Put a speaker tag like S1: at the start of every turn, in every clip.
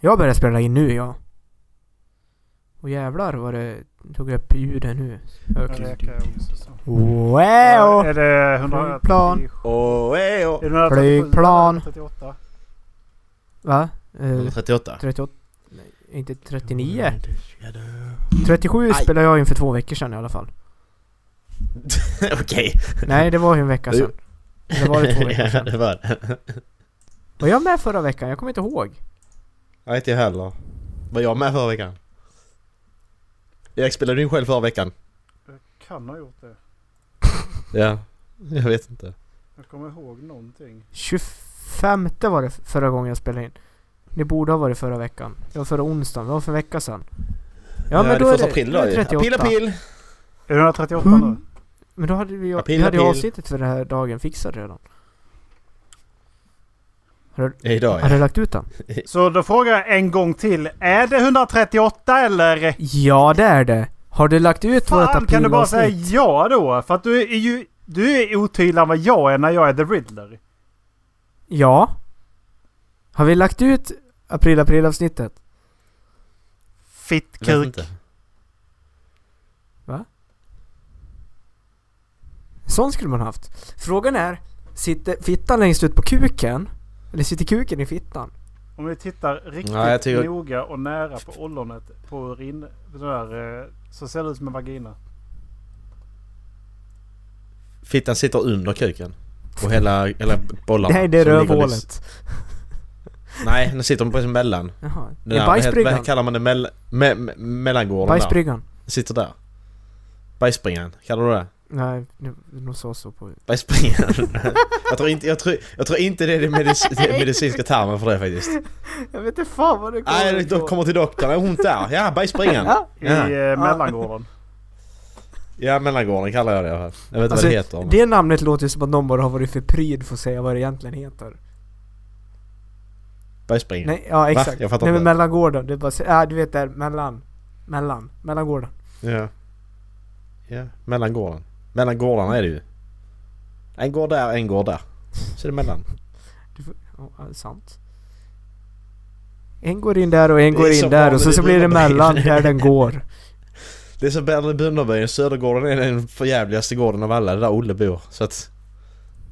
S1: Jag börjar spela in nu ja. Och jävlar vad det tog upp ljuden nu.
S2: Ja,
S1: Högt.
S2: det kan jag också säga. Ja,
S1: Wow!
S2: Är det 137?
S1: Äh, Flygplan.
S3: Åh, ej,
S2: Är det
S3: åh.
S2: 137?
S1: Flygplan.
S2: 138?
S1: Va? Eh,
S3: 138.
S1: 38? Nej, inte 39? 37 spelade jag in för två veckor sedan i alla fall.
S3: Okej.
S1: Nej, det var ju en vecka sedan. Eller var det två veckor
S3: Ja,
S1: sedan?
S3: det var det.
S1: Var jag med förra veckan? Jag kommer inte ihåg.
S3: Nej, inte jag heller. Var jag med förra veckan? Jag spelade in själv förra veckan.
S2: Jag kan ha gjort det.
S3: Ja. Jag vet inte.
S2: Jag kommer ihåg någonting.
S1: 25 var det förra gången jag spelade in. Det borde ha varit förra veckan. Det var förra onsdagen, det var för en vecka sedan. Ja men
S3: det
S1: då är
S3: första
S1: det,
S3: april
S1: då
S3: då
S1: är det
S3: ju.
S1: 38.
S3: April, april!
S2: Är det 138 nu?
S1: Hund- Men då hade vi,
S3: April,
S1: vi hade ju
S3: april.
S1: avsnittet för den här dagen fixat redan. Har du,
S3: Ja, Idag
S1: har
S3: ja.
S1: du lagt ut den?
S2: Så då frågar jag en gång till. Är det 138 eller?
S1: Ja det är det! Har du lagt ut vårt
S2: Fan
S1: aprilavsnitt?
S2: kan du bara säga ja då? För att du är ju... Du är otydligare än vad jag är när jag är the riddler.
S1: Ja. Har vi lagt ut april april avsnittet?
S3: Jag vet
S2: Fittkuk.
S3: inte.
S1: Sån skulle man haft. Frågan är, sitter fittan längst ut på kuken? Eller sitter kuken i fittan?
S2: Om vi tittar riktigt
S3: Ja, jag tycker-
S2: noga och nära på ollonet på urin, sådär, eh, så ser det ut som en vagina.
S3: Fittan sitter under kuken. Och hela, hela bollarna.
S1: Nej det är
S3: som ligger liksom-
S1: rövhålet.
S3: Nej, den sitter precis mellan.
S1: Jaha.
S3: Den
S1: Det
S3: här-
S1: är
S3: Vad
S1: bajsbryggan.
S3: heter- kallar man det? Mell- me- me- mellangården där?
S1: Bajsbryggan.
S3: Sitter där. Bajsspringan, kallar du det?
S1: Nej, det de sa så på...
S3: Bajsspringan. jag, tror inte, jag, tror, jag tror inte det är den medic- den medicinska termen för det faktiskt.
S1: Jag vet inte fan vad det
S3: Nej, de kommer till doktorn. Är hon där? Ja, bajsspringan.
S2: I
S3: Ja.
S2: eh, mellangården.
S3: Ja, mellangården kallar jag det i alla fall. Jag vet inte
S1: Alltså,
S3: vad det heter. men-
S1: Det namnet låter ju som att någon bara har varit för pryd för att säga vad det egentligen heter.
S3: Bajsspringan.
S1: Nej, ja exakt.
S3: Jag fattar
S1: Nej men
S3: inte.
S1: mellangården, det är bara... så- Ja du vet där, mellan. Mellan. Mellangården.
S3: Ja. Ja, mellan gården. Mellan gårdarna är det ju. En går där, en går där. Så är det mellan.
S1: Du får, ja, ja, sant. En går in där och en
S3: Det
S1: går
S3: är
S1: in
S3: som
S1: där och så,
S3: vanligt
S1: så
S3: i
S1: blir det
S3: Dunderberg.
S1: mellan där den går.
S3: Det är som Berlin Bunderbyn. Södergården är den förjävligaste gården av alla. Det där Olle bor. Så att...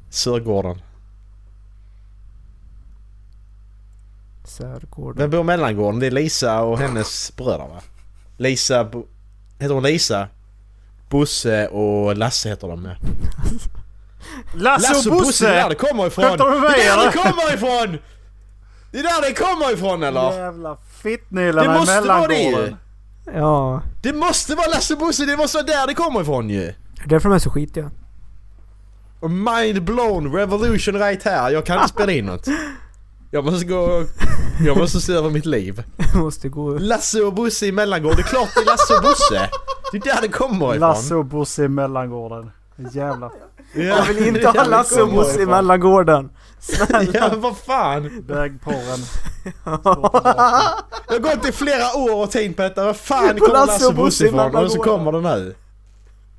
S3: Sörgården.
S1: Sörgården.
S3: Vem bor i mellangården? Det är Lisa och hennes bröder va? Lisa... Bo- heter hon Lisa? Bosse och Lasse heter de ja.
S2: Lasse,
S3: Lasse och Bosse! Det är där det kommer ifrån!
S2: Alltså, Skämtar du med
S3: det
S2: mig,
S3: är där
S2: eller?
S3: det kommer ifrån! Det är där det kommer ifrån eller?
S2: Jävla
S3: Det
S2: fittnyllarna i
S3: måste vara det ju!
S2: mellangården.
S1: Ja.
S3: Det måste vara Lasse och Bosse! Det måste vara där det kommer ifrån ju!
S1: Det är därför de är så skitiga.
S3: Och Mind blown revolution right här. Jag kan inte spela in något. Jag måste gå och... Jag måste se över mitt liv.
S1: Måste gå...
S3: Lasse och Bosse i mellangård. Det är klart det är Lasse och Bosse. Det är där det kommer ifrån.
S2: Lasse och Bosse i mellangården. Jävla...
S3: Ja,
S1: Jag vill
S3: det är
S1: inte
S3: där
S1: ha
S3: det
S1: Lasse och
S3: kommer
S1: Bosse i
S3: ifrån.
S1: mellangården.
S3: Ja, vad fan.
S2: Bögporren. står tillbaka.
S3: Jag har gått i flera år och tänkt på detta. Vad fan
S1: På
S3: kommer
S1: Lasse
S3: Lasse och
S1: och Bosse
S3: Bosse
S1: i
S3: ifrån? Och så
S1: mellangården.
S3: kommer det nu.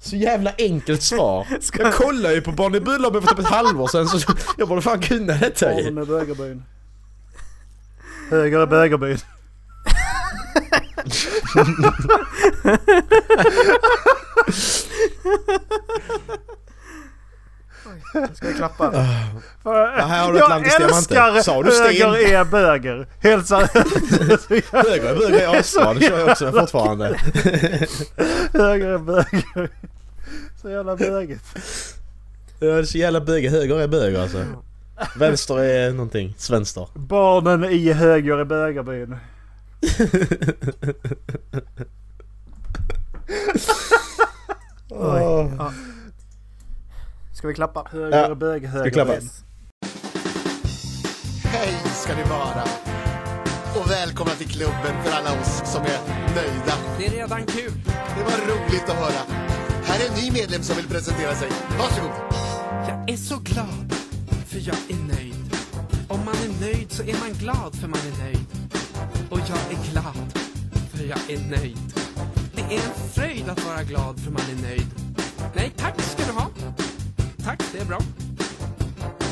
S3: Så jävla enkelt svar. Jag kollade ju på Bonnie Bullabö för typ ett halvår sedan så jag borde fan kunna detta ju.
S2: Porren i bögerbyn. Höger i bögerbyn.
S1: Ska jag klappa?
S3: Ja, här har du ett land i diamanter. Sa du sten?
S2: höger är böger. Helt seriöst.
S3: Höger, höger är asbra. Det kör jag också fortfarande.
S2: höger är böger. Så jävla bögigt.
S3: Ja, det är så jävla böger. Höger är böger alltså. Vänster är någonting. Svenster.
S2: Barnen i höger i bögerbyn.
S1: Oj. Ja. Ska vi klappa?
S2: Höger
S3: Ja.
S2: i böghögerbyn.
S3: klappa?
S4: Hej ska ni vara! Och välkomna till klubben för alla oss som är nöjda.
S5: Det är redan kul.
S4: Det var roligt att höra. Här är en ny medlem som vill presentera sig. Varsågod!
S5: Jag är så glad, för jag är nöjd. Om man är nöjd så är man glad, för man är nöjd. Och jag är glad, för jag är nöjd. Det är en fröjd att vara glad, för man är nöjd. Nej, tack ska du ha. Tack, det är bra.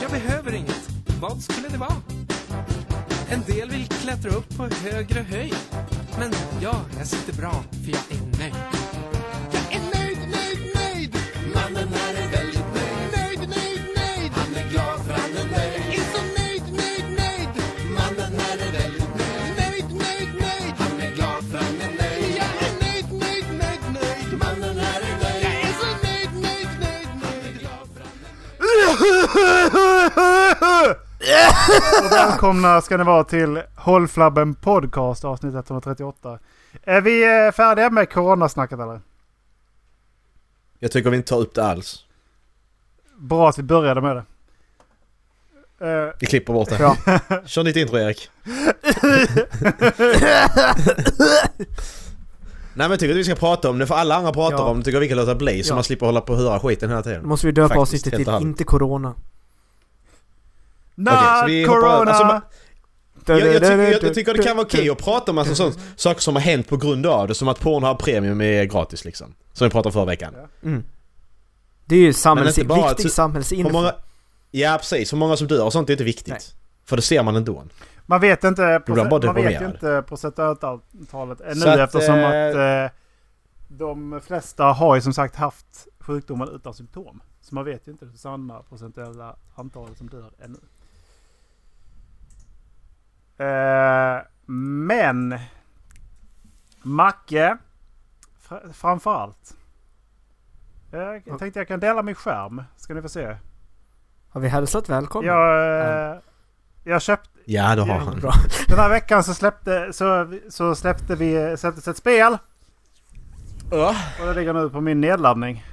S5: Jag behöver inget. Vad skulle det vara? En del vill klättra upp på högre höjd. Men ja, jag sitter bra för jag är nöjd.
S4: Jag är nöjd, nöjd, nöjd. Mannen här är väldigt nöjd. Nöjd, nöjd, nöjd. Han är glad för han är nöjd. Jag är så nöjd, nöjd, nöjd. Mannen här är väldigt nöjd. Nöjd, nöjd, nöjd. Han är glad för han är nöjd. Jag är nöjd, nöjd, nöjd, nöjd. Mannen här är nöjd. Jag är så nöjd, nöjd, nöjd, nöjd.
S2: Och välkomna ska ni vara till Håll Flabben Podcast avsnitt 138. Är vi eh, färdiga med coronasnacket eller?
S3: Jag tycker vi inte tar upp det alls.
S2: Bra att vi började med det. Eh,
S3: Vi klipper bort det.
S1: Bra.
S3: Kör ditt intro Erik. Nej men jag tycker att vi ska prata om det för alla andra pratar
S1: Ja.
S3: om det tycker jag vi kan låta bli så
S1: Ja.
S3: man slipper hålla på och höra skiten hela
S1: Då
S3: tiden.
S1: måste vi döpa
S3: Faktiskt,
S1: avsnittet
S3: helt
S1: till
S3: ärligt.
S1: Inte Corona.
S2: Not
S3: Okej, så vi hoppar-
S2: corona!
S3: alltså, man- Jag, jag, tycker, jag, jag tycker det kan vara okej att prata om alltså sånt, saker som har hänt på grund av det som att Pornhub Premium är gratis liksom. Som vi pratade om förra veckan.
S1: Mm. Det är ju samhälls...
S3: Men inte bara-
S1: viktig samhällsinfo.
S3: Hur många, ja precis, hur många som dör och sånt är inte viktigt.
S1: Nej.
S3: För det ser man ändå.
S2: Man vet inte,
S3: blir bara
S2: proce- man vet
S3: deprimerad.
S2: inte procentantalet ännu
S3: Så att,
S2: eftersom
S3: eh,
S2: att eh, de flesta har ju som sagt haft sjukdomen utan symptom. Så man vet ju inte det sanna procentuella antalet som dör ännu. Eh, men Macke, fr- framförallt. Jag jag tänkte jag kan dela min skärm. Ska ni få se.
S1: Har vi hälsat välkommen?
S2: Jag, eh, jag köpte
S3: Ja det har
S2: Ja,
S3: han.
S1: Bra.
S2: den här veckan så släppte, så, så släppte vi släpptes ett spel.
S3: Ja.
S2: Och det ligger nu på min nedladdning.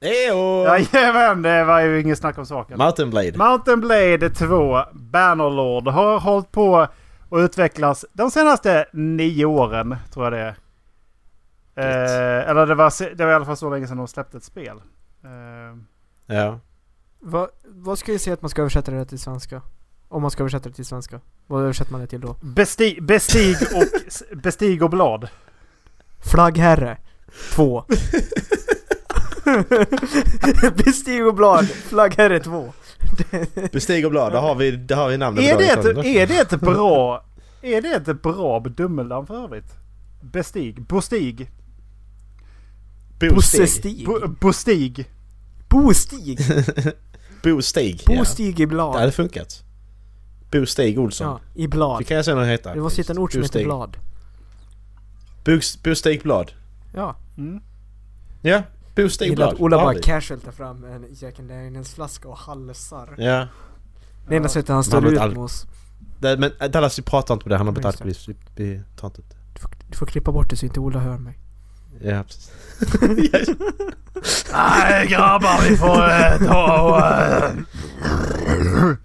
S3: Ejo!
S2: Jajamän, det var ju inget snack om saken.
S3: Martin Blade.
S2: Mountain Blade 2 Bannerlord har hållit på att utvecklas de senaste nio åren, tror jag det är. Eh, eller det var, se- det var i alla fall så länge sedan de släppte ett spel. Eh,
S3: ja.
S1: Vad, vad skulle jag säga att man ska översätta det här till svenska? Om man ska översätta det till svenska. Vad översätter man det till då?
S2: besti, bestig, och, s- bestig och blad.
S1: Flaggherre. Två. Bestig och blad. Flaggherre två.
S3: Bestig och blad, där har vi, där har vi namnet.
S2: Är
S3: på
S2: det,
S3: dagens
S2: ett,
S3: ämne.
S2: är det ett bra... Är det ett bra bedömelse för övrigt? Bestig? Bostig?
S3: Bostig.
S1: Bossestig.
S2: Bo- Bostig?
S1: Bostig.
S3: Bostig. ja.
S1: Bostig i
S3: Det
S1: blad.
S3: hade funkat. Bostig Olsson.
S1: Ja, i
S3: Det
S1: blad.
S3: kan jag sen heta.
S1: Det måste hitta en ort som heter
S3: Bostig.
S1: blad.
S3: Bos- Bostig Blad.
S1: Ja.
S2: Mm.
S3: Ja, Bostig
S1: Gillar
S3: Blad.
S1: att Ola
S3: Där har
S1: bara
S3: vi.
S1: casual tar fram en Jack and Daniels flaska och halsar.
S3: Ja.
S1: Det enda sättet han
S3: Han
S1: står
S3: har
S1: ut
S3: ett al-
S1: med oss.
S3: Det, men äh, Dallas, vi pratar inte om det. Han har blivit
S1: Just det.
S3: alkoholist. Vi, vi tar inte upp det.
S1: Du får, du får klippa bort det så inte Ola hör mig.
S3: Ja, precis.
S2: Nej grabbar vi får eh, ta och... eh,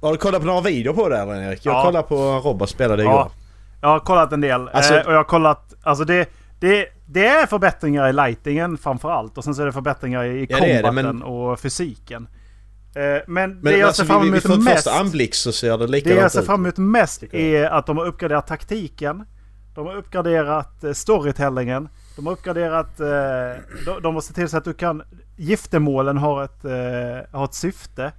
S3: Har du kollat på några videor på det eller Erik? Jag
S2: Ja.
S3: kollade på Robba spelade igår.
S2: ja, jag har kollat en del. eh,
S3: Alltså-
S2: och jag har kollat... Alltså det, det, det är förbättringar i lightingen framförallt. Och sen så är det förbättringar i
S3: Ja, det är det,
S2: combaten
S3: men-
S2: och fysiken. Eh, men,
S3: Men
S2: det jag
S3: alltså,
S2: ser fram
S3: vi, vi
S2: emot
S3: för ett
S2: mest...
S3: första anblick så ser det
S2: Det jag
S3: likadant
S2: ser
S3: ut.
S2: fram emot mest
S3: tycker
S2: är att de har uppgraderat taktiken. De har uppgraderat eh, storytellingen. De har uppgraderat... eh, De, de har sett till så att du kan... Giftermålen har ett, eh, har ett syfte.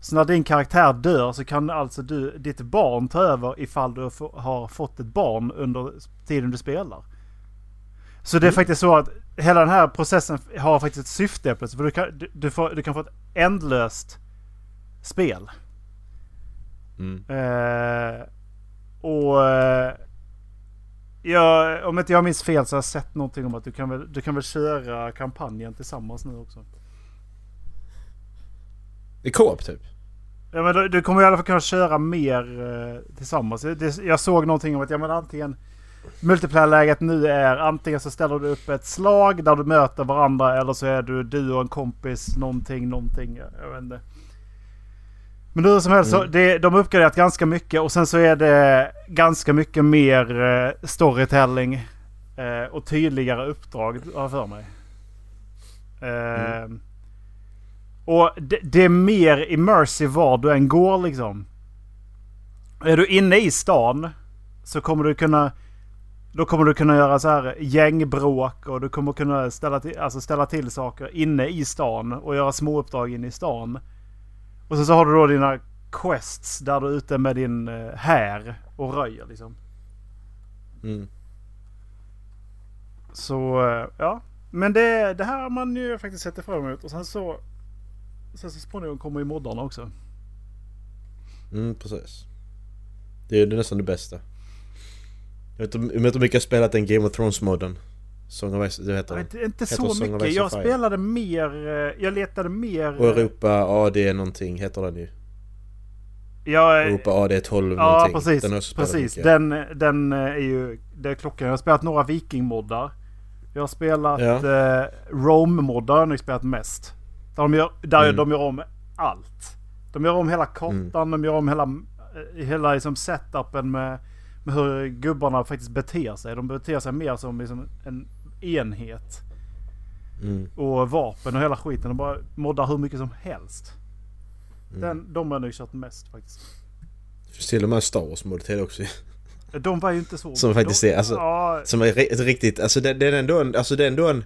S2: Så när din karaktär dör så kan alltså du, ditt barn ta över ifall du få- har fått ett barn under tiden du spelar. Så det är faktiskt så att hela den här processen har faktiskt ett syfte plötsligt. För du kan, du, du, får, du kan få ett ändlöst spel.
S3: Mm.
S2: Eh, och... Eh, jag, om inte jag minns fel så har jag sett någonting om att du kan väl, du kan väl köra kampanjen tillsammans nu också.
S3: Det är co-op typ.
S2: Ja, men du, du kommer i alla fall kunna köra mer eh, tillsammans. Det, jag såg någonting om att ja, men antingen multiplayer-läget nu är antingen så ställer du upp ett slag där du möter varandra eller så är du du och en kompis någonting, någonting. Jag vet inte. Men hur som helst, så det, de har uppgraderat ganska mycket och sen så är det ganska mycket mer eh, storytelling eh, och tydligare uppdrag har jag för mig. Eh, och det, det är mer immersive var du än går liksom. Är du inne i stan så kommer du kunna... Då kommer du kunna göra så här gängbråk och du kommer kunna ställa till, alltså ställa till saker inne i stan och göra små uppdrag inne i stan. Och sen så har du då dina quests där du är ute med din eh, här och röjer liksom.
S3: Mm.
S2: Så eh, ja. Men det, det här har man ju faktiskt sett fram emot. Och sen så... Sen så småningom kommer ju moddarna också.
S3: Mm, precis. Det är ju nästan det bästa. Jag vet inte jag vet inte hur mycket jag spelat den Game of Thrones-modden. Song of Ice, det heter
S2: Jag
S3: den.
S2: vet, inte
S3: Heter Song
S2: så
S3: of
S2: mycket.
S3: Ice and
S2: Jag
S3: Fire.
S2: spelade mer... eh, Jag letade mer... eh,
S3: Och Europa AD någonting heter den ju.
S2: Jag,
S3: Europa AD 12
S2: eh, Ja,
S3: någonting.
S2: precis.
S3: Den har jag också spelat
S2: precis.
S3: mycket.
S2: Den, den eh, är ju... Det är klockan. Jag har spelat några vikingmoddar. Jag har spelat
S3: Ja.
S2: eh, Rome-moddar. har jag nog spelat mest. Där, de gör, där
S3: Mm.
S2: de gör om allt. De gör om hela kartan. De gör om hela, eh, hela liksom setupen med, med hur gubbarna faktiskt beter sig. De beter sig mer som liksom en enhet.
S3: Mm.
S2: Och vapen och hela skiten. De bara moddar hur mycket som helst.
S3: Mm.
S2: Den, de har jag nog kört mest faktiskt.
S3: Finns till och med en Star Wars-mod till också ju.
S2: De var ju inte så...
S3: Som faktiskt
S2: de,
S3: är, alltså-
S2: ja,
S3: Som är ri- ett riktigt, alltså den, den är ändå en, alltså den är ändå en...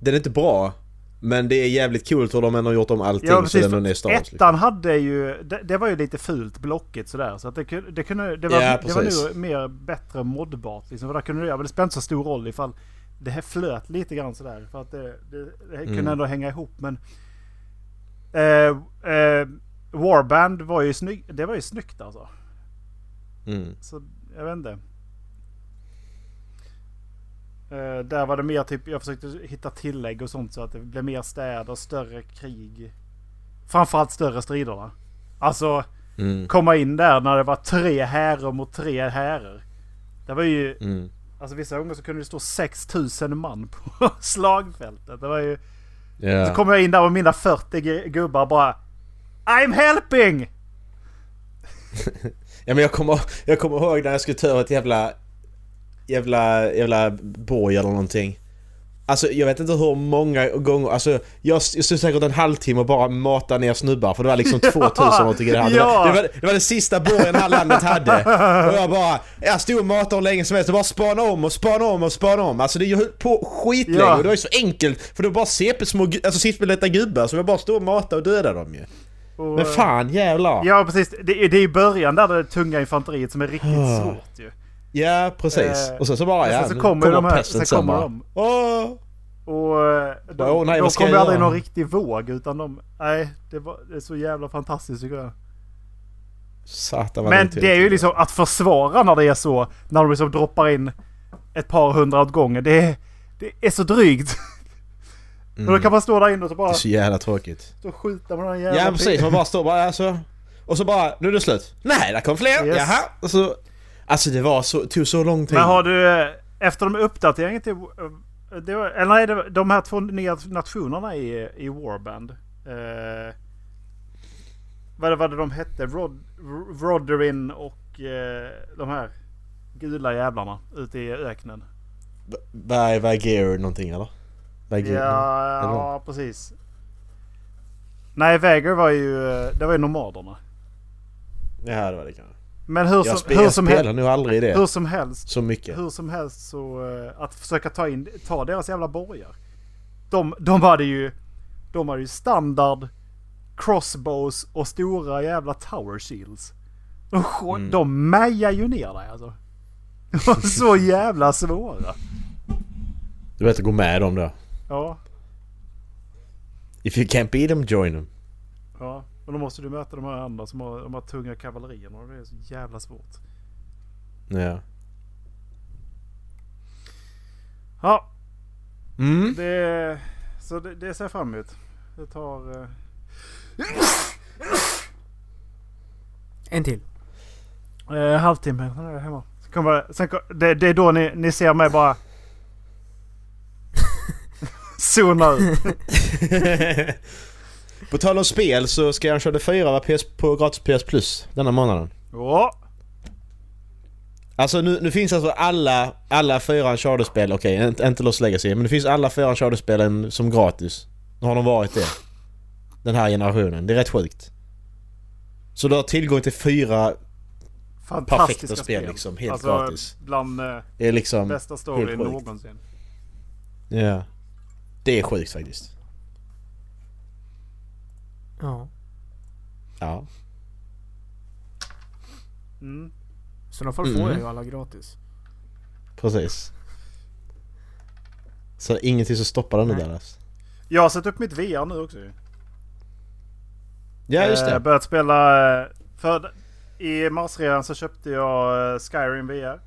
S3: Den är inte bra. Men det är jävligt coolt hur de ändå har gjort om allting
S2: Ja,
S3: så
S2: precis.
S3: den ändå är Star Wars. liksom.
S2: Ettan hade ju, det, det var ju lite fult blockigt sådär. Så att det, kunde- det, kunde, det, var,
S3: Ja,
S2: det var
S3: precis.
S2: nog mer bättre modbart. Liksom, för där kunde du göra, men det spelade inte så stor roll ifall det här flöt lite grann sådär. För att det, det, det kunde
S3: Mm.
S2: ändå hänga ihop. Men eh, eh, Warband var ju, snygg, det var ju snyggt alltså.
S3: Mm.
S2: Så jag vet inte. Eh, där var det mer typ, jag försökte hitta tillägg och sånt så att det blev mer städer, större krig. Framförallt större strider va? Alltså
S3: Mm.
S2: komma in där när det var tre härer mot tre härer. Det var ju,
S3: Mm.
S2: alltså vissa gånger så kunde det stå 6000 man på slagfältet. Det var ju,
S3: Ja.
S2: så kom jag in där med mina 40 gu- gubbar bara I'm helping!
S3: Ja men jag kommer, jag kommer ihåg när jag skulle ta över ett jävla... Jävla, jävla borg eller någonting. Alltså jag vet inte hur många gånger, alltså jag, jag stod säkert en halvtimme och bara matade ner snubbar för det var liksom 2000 någonting i det här. Det,
S2: ja.
S3: var, det, var, det var den sista borgen det här landet hade. Och jag bara, jag stod och matade hur länge som helst och bara spana om och spana om och spana om. Alltså det höll på skitlänge
S2: Ja.
S3: och det var ju så enkelt för det var bara CP små, gu- alltså CP-lätta gubbar som jag bara stod och matade och dödade dem ju.
S2: Och,
S3: Men fan jävlar.
S2: Ja precis, det är, det är i början där det är tunga infanteriet som är riktigt svårt ju.
S3: Ja, precis.
S2: Eh,
S3: och sen så bara,
S2: men
S3: ja,
S2: sen så
S3: nu
S2: kommer de här-
S3: pesten
S2: sen kommer
S3: bara,
S2: de.
S3: Åh!
S2: Och eh, de,
S3: Bara, "Åh, nej,
S2: de
S3: vad ska
S2: kom
S3: jag
S2: aldrig i
S3: göra?"
S2: någon riktig våg utan de, nej det, var, det är så jävla fantastiskt tycker jag.
S3: Satan vad
S2: Men
S3: dumt
S2: det är ju liksom att försvara när det är så, när de liksom droppar in ett par hundra åt gången, det är, det är så drygt. Och då kan man stå där inne och så
S3: Mm. Det
S2: bara
S3: är så jävla tråkigt.
S2: stå och skjuta med den jävla
S3: Ja, precis. Man bara står bara, alltså. Och så bara, nu är det slut. Nej, där kom fler!
S2: Yes.
S3: Jaha! Och så, alltså det var så, tog så lång tid.
S2: Men har du, eh, efter de uppdateringen till... eh, Det var, eller nej, det var, de här två nya nationerna i, i Warband. Eh, vad var det de hette? Rod, R- Roderin och eh, de här gula jävlarna ute i öknen.
S3: Var, var Gear någonting eller? Var
S2: Ja, ja precis. Nej, Väger var ju... eh, Det var ju nomaderna.
S3: Ja, det var det kanske.
S2: Men hur
S3: Jag,
S2: som,
S3: spe,
S2: hur
S3: jag
S2: som,
S3: spelar
S2: helst,
S3: nog aldrig det.
S2: hur som helst
S3: Så mycket.
S2: Hur som helst så eh, att försöka ta in, ta deras jävla borgar. De, de hade ju, de hade ju standard crossbows och stora jävla tower shields. De, sk- de mejar ju ner dig alltså. De var så jävla svåra.
S3: Du vet att gå med dem då.
S2: Ja,
S3: If you can't beat them, join them.
S2: ja. Men då måste du möta de här andra som har de här tunga kavallerierna och det är så jävla svårt.
S3: Ja.
S2: Ja,
S3: Mm.
S2: det, så det, det ser jag fram emot. Det tar... eh,
S1: En till.
S2: Eh, halvtimme, sen är jag hemma. Sen kommer, sen, kom- det, det är då ni, ni ser mig bara... Zona ut.
S3: På tal om spel så ska jag köra 4 va, PS på gratis PS Plus denna månaden.
S2: Ja,
S3: Alltså nu, nu finns alltså alla, alla fyra Uncharted-spel, okej inte, inte Lost Legacy, men det finns alla fyra Uncharted-spelen som gratis. Nu har de varit det. Den här generationen, det är rätt sjukt. Så du har tillgång till fyra,
S2: fantastiska
S3: Perfekta spel, liksom, helt
S2: alltså,
S3: gratis.
S2: Bland eh,
S3: det är liksom...
S2: bästa storyn
S3: helt sjukt.
S2: någonsin.
S3: Ja. Det är sjukt faktiskt.
S1: Ja.
S3: Ja.
S2: Mm.
S1: Så i alla fall får
S3: Mm.
S1: jag ju alla gratis.
S3: Precis. Så ingenting som stoppar den nu
S1: Nej.
S3: där alltså.
S2: Jag har satt upp mitt VR nu också ju.
S3: Ja just
S2: Eh,
S3: det.
S2: börjat spela... eh, För i mars redan så köpte jag eh, Skyrim VR.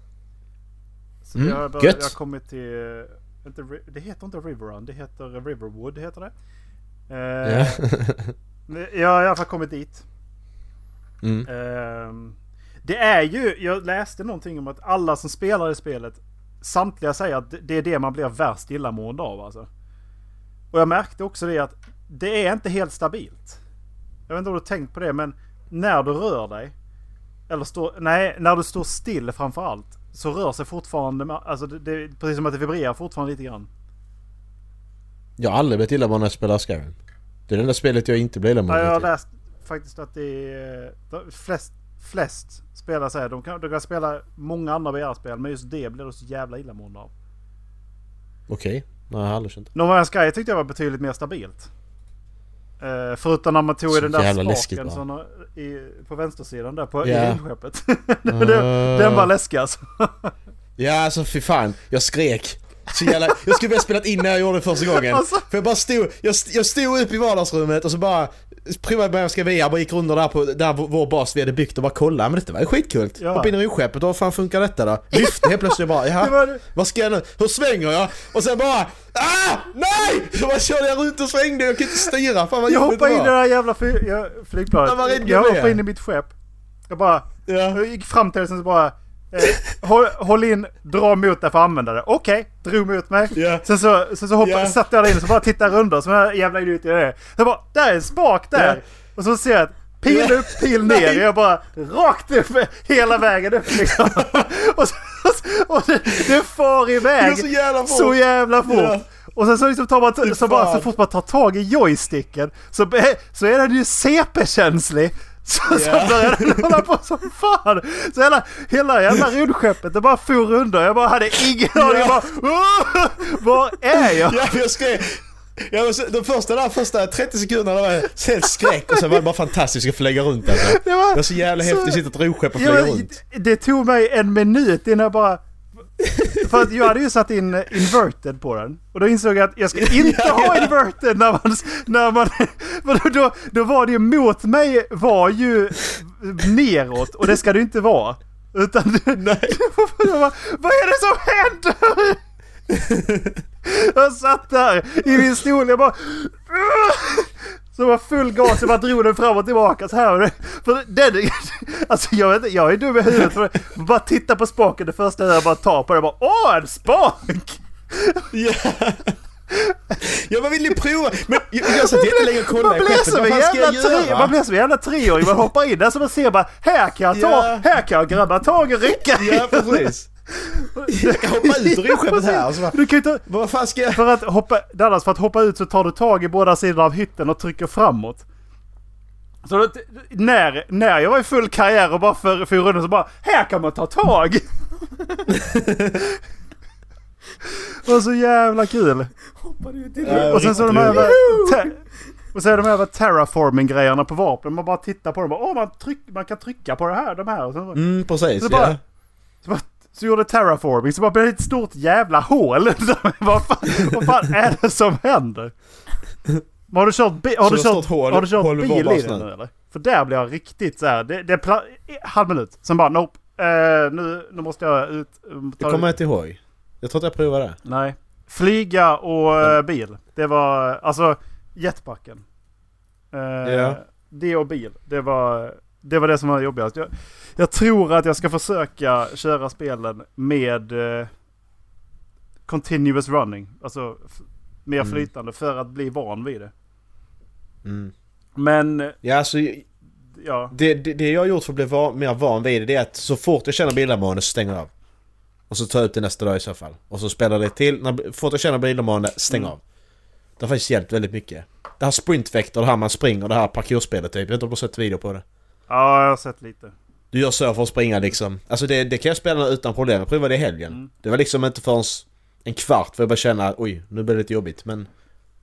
S2: Så
S3: Mm,
S2: jag, har börjat,
S3: gött.
S2: jag har kommit till... eh, Inte, Ri- det heter inte Riverrun, det heter Riverwood heter det. Eh,
S3: Ja.
S2: men Jag har i alla fall kommit dit.
S3: mm.
S2: Ehm, Det är ju, jag läste någonting om att alla som spelar i spelet, samtliga säger att det är det man blir värst illamående av alltså. Och jag märkte också det att det är inte helt stabilt. Jag vet inte om du har tänkt på det men när du rör dig, eller står, nej, när du står still framför allt, så rör sig fortfarande, ma- alltså det, det är precis som att det vibrerar fortfarande lite grann.
S3: Jag har aldrig blivit illamående när jag spelar Skyrim. Det är det enda spelet jag inte
S2: Ja,
S3: blir
S2: jag har
S3: illamående till.
S2: läst faktiskt att det är eh, de flest, flest spelare säger de kan, de kan spela många andra VR-spel men just det blir de så jävla illamående av.
S3: Okej. Nej, jag har aldrig känt det.
S2: No Man's Sky tyckte jag var betydligt mer stabilt. Eh, förutom när man tog i
S3: Så
S2: den där
S3: jävla läskigt
S2: spaken
S3: bara.
S2: som, har- i, på vänstersidan där på
S3: Ja.
S2: i rymdskeppet. den, den var läskig alltså.
S3: Ja alltså fy fan, jag skrek. Så jävla, jag skulle vilja spela in när jag gjorde det första gången.
S2: Alltså.
S3: För jag bara stod, jag, st- jag stod upp i vardagsrummet och så bara provade jag ska VR, bara gick runt där på där vår- vår bas vi hade byggt och bara kolla men detta var ju skitkult.
S2: Ja.
S3: Hoppa in i rymdskeppet, och vad fan funkar detta då? Lyfte helt plötsligt jag bara,
S2: Det var
S3: jaha,
S2: det.
S3: vad ska jag nu? Hur svänger jag? Och sen bara, ah! Nej! Så bara körde jag runt och svängde, jag kunde inte styra, fan vad
S2: Jag
S3: jobbigt det
S2: hoppade in i det
S3: var.
S2: där jävla fly- jag, flygplanet.
S3: Ja, vad rädd jag
S2: jag
S3: blev.
S2: hoppade in i mitt skepp. Jag bara...
S3: Ja.
S2: Jag gick fram till det sen så bara... Eh, håll, håll in, dra mot dig för att använda det. Okej, drog mot mig.
S3: Ja.
S2: Sen så, sen så hoppade,
S3: Ja.
S2: satte jag där inne så bara tittade jag runt och så här jävla idiot jag är. Så bara, där är en spak där!
S3: Ja.
S2: Och så ser jag att pil
S3: Ja.
S2: upp, pil ner.
S3: Nej.
S2: Jag bara rakt upp hela vägen upp liksom. och så, och så, och det, det far
S3: Det
S2: iväg.
S3: var så jävla fort.
S2: Så jävla fort.
S3: Ja.
S2: Och sen så, liksom tar man, så, bara, så
S3: fan.
S2: fort man tar tag i joysticken så, be- så är den ju CP-känslig. Så,
S3: Ja.
S2: så började den hålla på som fan. Så hela, hela jävla rymdskeppet det bara for under. Jag bara hade ingen aning. Jag bara, "Åh, var är jag?
S3: Ja, för jag skrek. Ja, men så- de första, där, första 30 sekunderna var jag helt skräck och sen var det bara fantastiskt att få flyga runt alltså.
S2: Det var-
S3: Det var så jävla
S2: så-
S3: häftigt att sitta i ett rymdskepp och
S2: Ja,
S3: flyga
S2: men
S3: runt.
S2: det, det tog mig en minut innan jag bara... För att jag hade ju satt in eh, inverted på den. Och då insåg jag att jag ska inte ha inverted när man... När man för då- då, då var det ju mot mig var ju neråt och det ska det ju inte vara. Utan... Nej. Jag bara, vad är det som händer? Jag satt där i min stol, jag bara... Så det var full gas, jag bara drog den fram och tillbaka så här. För den, alltså jag, vet, inte, jag är dum i huvudet. För bara titta på spaken, det första jag bara tar på det, jag bara åh en spak!
S3: Ja. ja, man vill ju prova. Men jag, jag satt jättelänge och
S2: Man
S3: kollade i
S2: blir
S3: skeppet.
S2: som en
S3: Vad fan ska
S2: jävla,
S3: jag
S2: tre,
S3: göra?
S2: man blir som en jävla treåring, man hoppar in där så man ser bara här kan jag ta,
S3: Ja.
S2: här kan jag grabba tag och rycka i.
S3: Ja, precis. Jag kan hoppa ut ur rymdskeppet här och så bara,
S2: Du kan ju inte,
S3: vad fan ska jag...
S2: för att hoppa, Dallas, för att hoppa ut så tar du tag i båda sidorna av hytten och trycker framåt. Så då, när, när jag var i full karriär och bara för, för runden så bara här kan man ta tag! det var så jävla kul!
S1: Hoppade ut i
S3: Ja,
S2: Och sen så de här
S3: riktigt
S2: va-
S3: roligt.
S2: te- och så är de här va- terraforming-grejerna på vapnen. Man bara tittar på dem och bara, åh man, tryck, man kan trycka på det här, de här. Och sen, så-
S3: Mm, precis.
S2: Så bara-
S3: Ja.
S2: så, bara, så gjorde terraforming, så bara blev det ett stort jävla hål. vad, fan, vad fan är det som händer? Men Har du kört, bi- har
S3: Så
S2: du
S3: det har
S2: kört,
S3: stått hål-
S2: har du kört
S3: hål vid
S2: bil i
S3: vårdbasen?
S2: den nu eller? För där blir jag riktigt så här. Det, det är pla- halv minut, sen bara nope. Eh, nu, nu måste jag ut.
S3: Det kommer jag inte ihåg. Jag tror att jag provade det.
S2: Nej. Flyga och eh, bil. Det var alltså jetpacken. Eh,
S3: Ja.
S2: Det och bil. Det var det, var det som var jobbigast. Jag, jag tror att jag ska försöka köra spelen med eh, continuous running. Alltså f- mer
S3: Mm.
S2: flytande för att bli van vid det.
S3: Mm.
S2: Men eh,
S3: Ja, alltså, så
S2: ja.
S3: Det, det, det jag har gjort för att bli van, mer van vid det, det är att så fort jag känner billamående så stänger jag av. Och så tar jag upp det nästa dag i så fall. Och så spelar det till, när, fort jag känner billamående, stäng
S2: Mm.
S3: av. Det har faktiskt hjälpt väldigt mycket. Det här sprintvector, det här man springer, det här parkourspelet typ. Jag vet inte om du har sett video på det?
S2: ja, jag har sett lite.
S3: Du gör så för att springa liksom. Alltså det, det kan jag spela utan problem. Jag provade det i helgen.
S2: Mm.
S3: Det var liksom inte förrän en kvart för jag började känna oj, nu blir det lite jobbigt. Men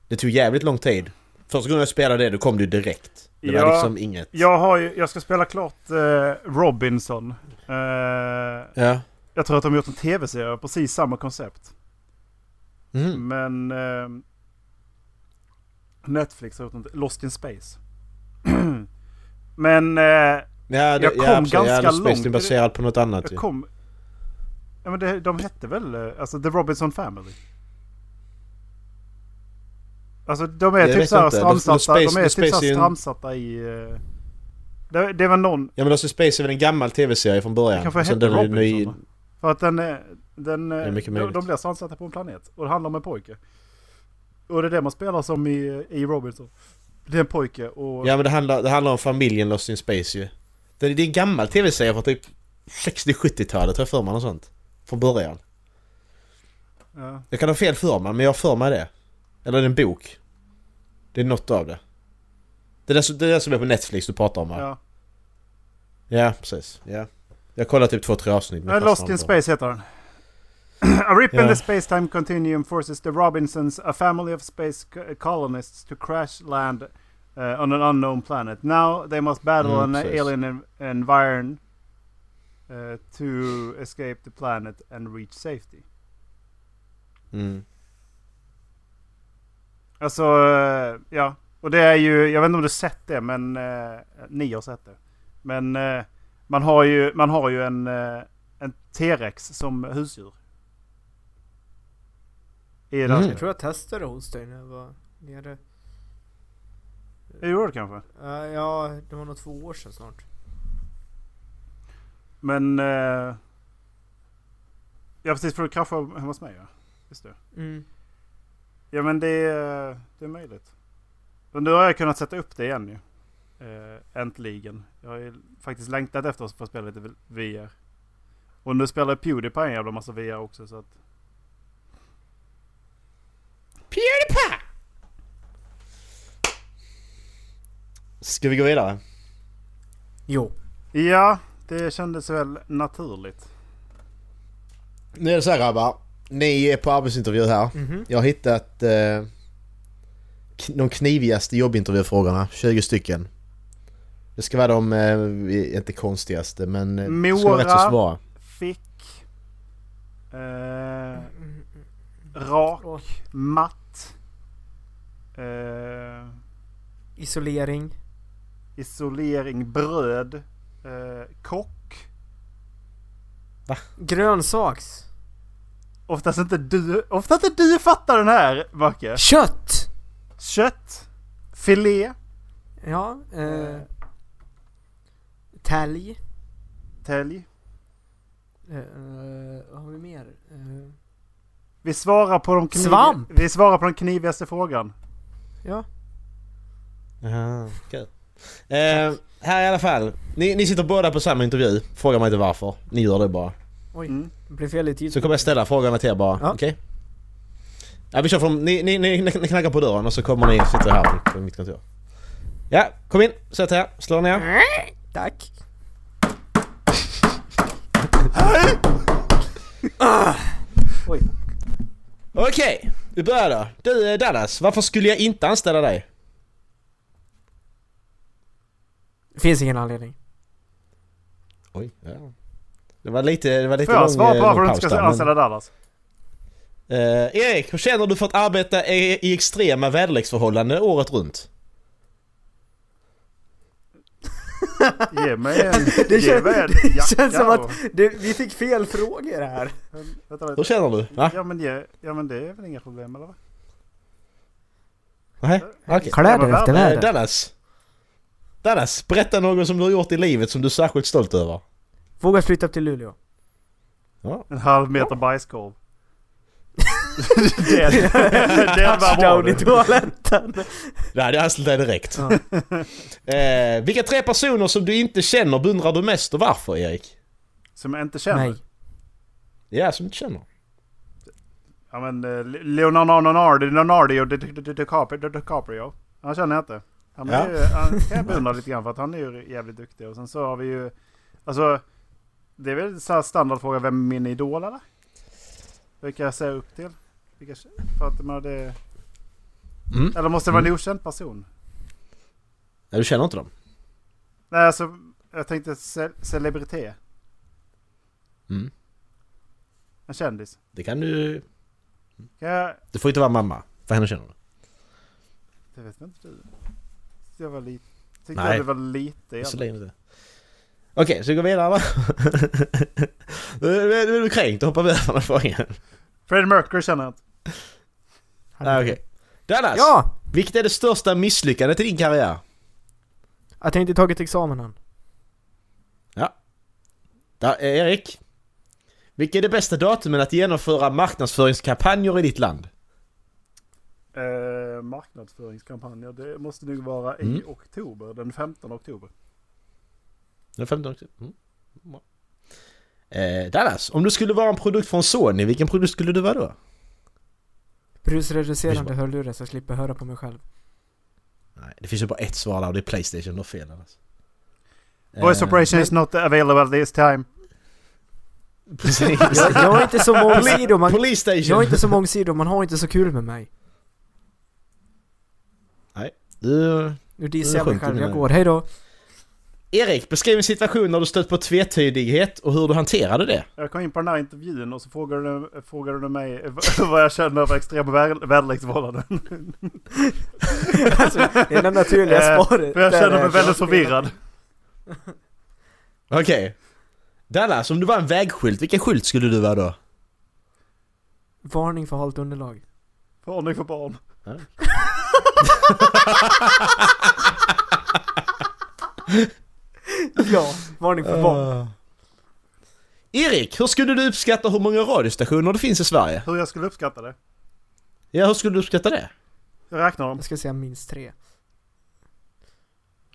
S3: det tog jävligt lång tid. Första gången jag spelade det, då kom du direkt. Det
S2: Ja.
S3: var liksom inget.
S2: Jag, har ju, jag ska spela klart eh, Robinson. Eh,
S3: Ja.
S2: jag tror att de har gjort en tv-serie av precis samma koncept.
S3: Mm.
S2: Men eh, Netflix har gjort något, Lost in Space. Men eh,
S3: Ja, det,
S2: Jag kom
S3: ja, absolut.
S2: ganska
S3: ja, Lost Space
S2: långt.
S3: är baserad på något annat
S2: jag
S3: ju.
S2: kom... Ja, men det, de hette väl eh, alltså, The Robinson Family? Alltså de är
S3: Jag
S2: typ
S3: vet
S2: såhär
S3: inte. De- de
S2: stramsatta, de,
S3: space-
S2: är
S3: de
S2: typ
S3: space är
S2: såhär
S3: ju en-
S2: stramsatta i... eh, Det, det var någon,
S3: Ja men Lost in Space är väl en gammal tv-serie från
S2: Det
S3: början.
S2: kanske
S3: Sen
S2: hette
S3: den är
S2: Robinson.
S3: ny...
S2: va? För att den, eh, den eh,
S3: är mycket
S2: de,
S3: möjligt.
S2: de blir strandsatta på en planet. Och det handlar om en pojke. Och det är det man spelar som i, i Robinson. Det är en pojke och...
S3: Ja men det handlar, det handlar om familjen Lost in Space ju. Det, det är en gammal tv-serie från typ 60-70-talet har jag för mig något sånt. Från början.
S2: Ja.
S3: Jag kan ha fel för mig, men jag har för mig det. Eller är det en bok? Det är något av det. Det är det som, det är det som är på Netflix du pratar om va? Ja,
S2: ja.
S3: precis. Ja. Jag kollade typ två, tre avsnitt. men
S2: Eh,
S3: fastnade
S2: Lost in
S3: inte.
S2: Space heter den. A rip in
S3: Ja.
S2: the space-time continuum forces the Robinsons, a family of space co- colonists, to crash land eh, on an unknown planet. Now they must battle
S3: Mm,
S2: an
S3: precis.
S2: alien en- environ eh, to escape the planet and reach safety.
S3: Mm.
S2: Alltså, eh, ja. Och det är ju, jag vet inte om du sett det, men eh, ni har sett det. Men eh, man har ju, man har ju en, eh, en T-rex som husdjur. I det här
S3: Mm.
S1: Jag
S2: spelet.
S1: tror jag testade hos dig när jag var nere.
S2: Det gjorde det kanske.
S1: Eh, ja, det var nog två år sedan snart.
S2: Men... Eh, ja precis, för du kraschade hemma hos mig ja. Just det.
S1: Mm.
S2: Ja men det, är- det är möjligt. Men nu har jag kunnat sätta upp det igen ju. Äh, äntligen. Jag har ju faktiskt längtat efter att få spela lite VR. Och nu spelar Pewdiepie en jävla massa VR också så att...
S3: Ska vi gå vidare?
S1: Jo.
S2: Ja, det kändes väl naturligt.
S3: Nu är det så här grabbar. Ni är på arbetsintervju här.
S1: Mhm.
S3: Jag har hittat eh, k- de knivigaste jobbintervjufrågorna, 20 stycken. Det ska vara de, eh, inte konstigaste, men eh, det ska vara rätt
S2: Mora.
S3: så svåra.
S2: Fick... Eh,
S1: Mm-hmm.
S2: rak, matt. Eh,
S1: Isolering.
S2: isolering, bröd. Eh, kock.
S1: Grönsaks.
S2: Oftast inte du, oftast inte du fattar den här Macke.
S1: Kött!
S2: Kött. Filé.
S1: Ja. Eh,
S2: Eh.
S1: tälj.
S2: Tälj.
S1: Eh, eh, vad har vi mer? Eh,
S2: Vi svarar på de, kniv...
S1: Svamp.
S2: Vi svarar på den knivigaste frågan.
S1: ja.
S3: Jaha, kul. Eh, här i alla fall. Ni, ni sitter båda på samma intervju. Fråga mig inte varför. Ni gör det bara.
S1: Oj.
S2: Mm.
S1: Det blev fel i tid.
S3: Så kommer jag ställa frågorna till er bara.
S1: Ja.
S3: Okej? Ja, vi kör från... Ni, ni, ni, ni knackar på dörren och så kommer ni sitta här typ, på mitt kontor. Ja, kom in. Sätt er. Slå ner.
S1: Tack. Ah! Oj.
S3: Okej, vi börjar då. Du eh, Dallas, varför skulle jag inte anställa dig?
S1: Det finns ingen anledning.
S3: Oj, ja. Det var lite, det var lite
S2: Får jag
S3: lång,
S2: svara
S3: eh,
S2: på varför
S3: lång
S2: du
S3: paus
S2: inte ska
S3: där,
S2: anställa Dallas?
S3: Men, eh, Erik, hur känner du för att arbeta i, i extrema väderleksförhållanden året runt?
S2: Ge mig en...
S1: Det
S2: ge
S1: kän-
S2: mig en
S1: det
S2: jacka
S1: känns som
S2: och-
S1: att du, vi fick fel frågor här.
S2: Vänta lite.
S3: Hur känner du? Va?
S2: Ja men, ge... ja men det är väl inga problem eller? vad?
S3: Nej, okej.
S2: Kläder efter
S3: Eh, Dallas. Dallas, berätta något som du har gjort i livet som du är särskilt stolt över.
S1: Vågar flytta upp till Luleå.
S2: En halv meter bajskorv. det, det, det var bra
S1: Touchdown i
S2: det.
S1: toaletten.
S3: Det hade jag anställt dig direkt.
S1: Ja.
S3: eh, vilka tre personer som du inte känner beundrar du mest och varför, Erik?
S2: Som jag inte känner.
S1: Nej.
S3: Ja, som du inte känner.
S2: Ja men eh, Leonardo Leonardo Leonardo Di- Di- Di- Di- DiCaprio, DiCaprio. Han känner jag inte. Han, är ju,
S3: Ja.
S2: han kan jag beundra lite grann för att han är ju jävligt duktig. Och sen så har vi ju... Alltså... Det är väl så här standardfråga, vem är min idol eller? Vilka jag ser upp till? Vilka, för att man det...
S3: Mm.
S2: Eller måste det vara en okänd person?
S3: Nej, du känner inte dem?
S2: Nej, alltså jag tänkte ce celebritet.
S3: Mm.
S2: En kändis.
S3: Det kan du...
S2: Kan jag...
S3: Du får inte vara mamma, för henne känner du.
S2: Det vet väl inte du? Jag var lite... Tyckte
S3: Nej.
S2: jag det var lite
S3: Så
S2: jävla.
S3: länge inte. Okej, så vi går vidare va? Nu nu- nu är du kränkt och hoppar vi över den här frågan.
S2: Freddie Mercury känner jag inte.
S3: Ah, Okej. Alltså. Dallas!
S1: Ja!
S3: Vilket är det största misslyckandet i din karriär?
S1: Att jag inte tagit examen än.
S3: Da, eh, Erik? Vilket är det bästa datumet att genomföra marknadsföringskampanjer i ditt land?
S2: Eh, marknadsföringskampanjer. Det måste nog vara i
S3: Mm.
S2: oktober. Den 15 oktober.
S3: Den 15 oktober. Mm. Bra. Eh, Dallas, om du skulle vara en produkt från Sony, vilken produkt skulle du vara då? Visst
S1: Brusreducerande hörlurar så jag slipper höra på mig själv.
S3: Nej, det finns ju bara ett svar där och det är Playstation, du har fel Dallas.
S2: Voice
S3: Eh,
S2: operation is not available this time.
S3: Eh, Precis.
S1: Jag, jag är inte så mångsidig och man...
S3: Police
S1: Jag
S3: Station!
S1: är inte så mångsidig och man har inte så kul med mig.
S3: Du,
S1: Nu
S3: Det
S1: dissar
S3: är
S1: jag mig
S3: skönt,
S1: själv,
S3: det
S1: jag
S3: där.
S1: går, hejdå.
S3: Erik, beskriv en situation när du stött på tvetydighet och hur du hanterade det.
S2: Jag kom in på den här intervjun och så frågade du, frågade du mig eh, vad jag känner för extrema väder- väderleksförhållanden.
S1: Alltså, det är det naturliga
S2: Eh,
S1: svaret.
S2: För jag
S1: Där
S2: känner
S1: är
S2: mig väldigt
S1: jag.
S2: förvirrad.
S3: Okej. Dallas, om du var en vägskylt, vilken skylt skulle du vara då?
S1: Varning för halt underlag.
S2: Varning för barn.
S1: Ja, varning för
S3: Eh.
S1: barn.
S3: Erik, hur skulle du uppskatta hur många radiostationer det finns i Sverige?
S2: Hur jag skulle uppskatta det.
S3: Ja, hur skulle du uppskatta det?
S2: Jag räknar dem.
S1: Jag ska säga minst tre.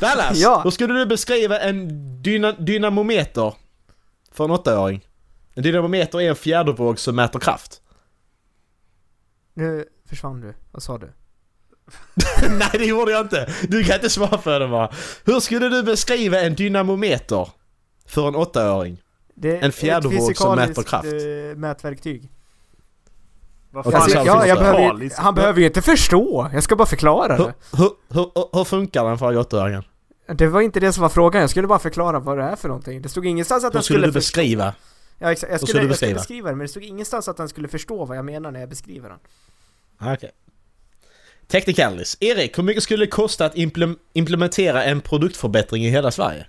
S3: Dallas,
S1: Ja.
S3: hur skulle du beskriva en dyna dynamometer för en åttaåring? En dynamometer är en fjädervåg som mäter kraft.
S1: Nu försvann du. Vad sa du?
S3: Nej, det gjorde jag inte! Du kan inte svara för det bara. Hur skulle du beskriva en dynamometer för en åttaåring?
S1: Det är
S3: En fjädervåg som
S1: ett fysikaliskt,
S3: mäter kraft.
S1: eh, mätverktyg.
S2: Vad
S3: Okej,
S2: fan
S1: Alltså,
S3: så
S2: är
S1: ja, jag
S3: finns det.
S1: behöver, ju-
S2: fysikaliskt?
S1: han behöver ju inte förstå. Jag ska bara förklara
S3: Hur,
S1: det.
S3: hur, hur, hur, hur funkar den för åttaåringen?
S1: Det var inte det som var frågan. Jag skulle bara förklara vad det är för någonting. Det stod ingenstans att
S3: Hur
S1: han
S3: skulle du
S1: skulle... för-
S3: beskriva?
S1: Ja, exakt. Jag skulle,
S3: Vad skulle du
S1: jag skulle
S3: beskriva?
S1: beskriva det, men det stod ingenstans att han skulle förstå vad jag menar när jag beskriver den.
S3: Ah, Okej. Technicalis. Erik, hur mycket skulle det kosta att implem- implementera en produktförbättring i hela Sverige?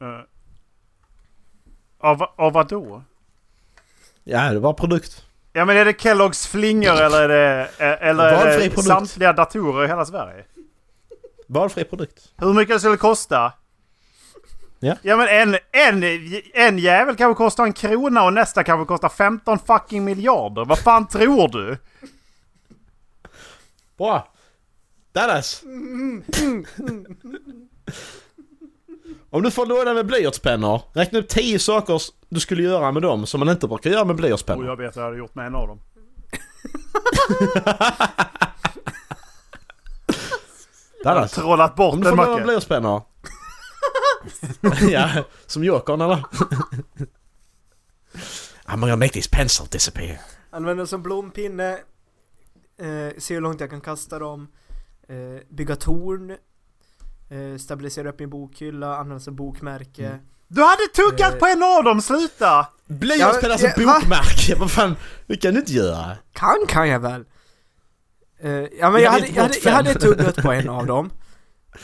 S2: Eh, Av, av vad då?
S3: Ja, det var produkt.
S2: Ja men är det Kelloggs flingor eller är det, eh, eller är
S3: Valfri
S2: det
S3: produkt.
S2: samtliga datorer i hela Sverige?
S3: Valfri produkt.
S2: Hur mycket det skulle kosta?
S3: Ja.
S2: Ja men en, en, en jävel kanske kostar en krona och nästa kanske kostar 15 fucking miljarder. Vad fan tror du?
S3: Bra! Dallas! Om du får låda med blyertspennor, räkna upp 10 saker s- du skulle göra med dem som man inte brukar göra med
S2: Och
S3: blyertspennor.
S2: jag vet vad jag hade gjort med en av dem.
S3: Dallas!
S2: Trollat bort
S3: Om du
S2: den
S3: får låna med
S2: Macke.
S3: blyertspennor. ja, som Jokern eller? I'm gonna make this pencil disappear.
S1: Använda som blompinne, eh, se hur långt jag kan kasta dem, eh, bygga torn, eh, stabilisera upp min bokhylla, använda som bokmärke.
S3: Mm.
S2: Du hade tuggat
S1: Eh.
S2: på en av dem, sluta!
S3: Blyertspennor som
S1: Ja, va?
S3: bokmärke, vad fan? Det kan du inte göra.
S1: Kan kan jag väl! Eh, ja men
S3: Vi
S1: jag
S3: hade
S1: hade,
S3: inte
S1: jag, hade,
S3: fått
S1: jag
S3: fem.
S1: hade tuggat på en av dem.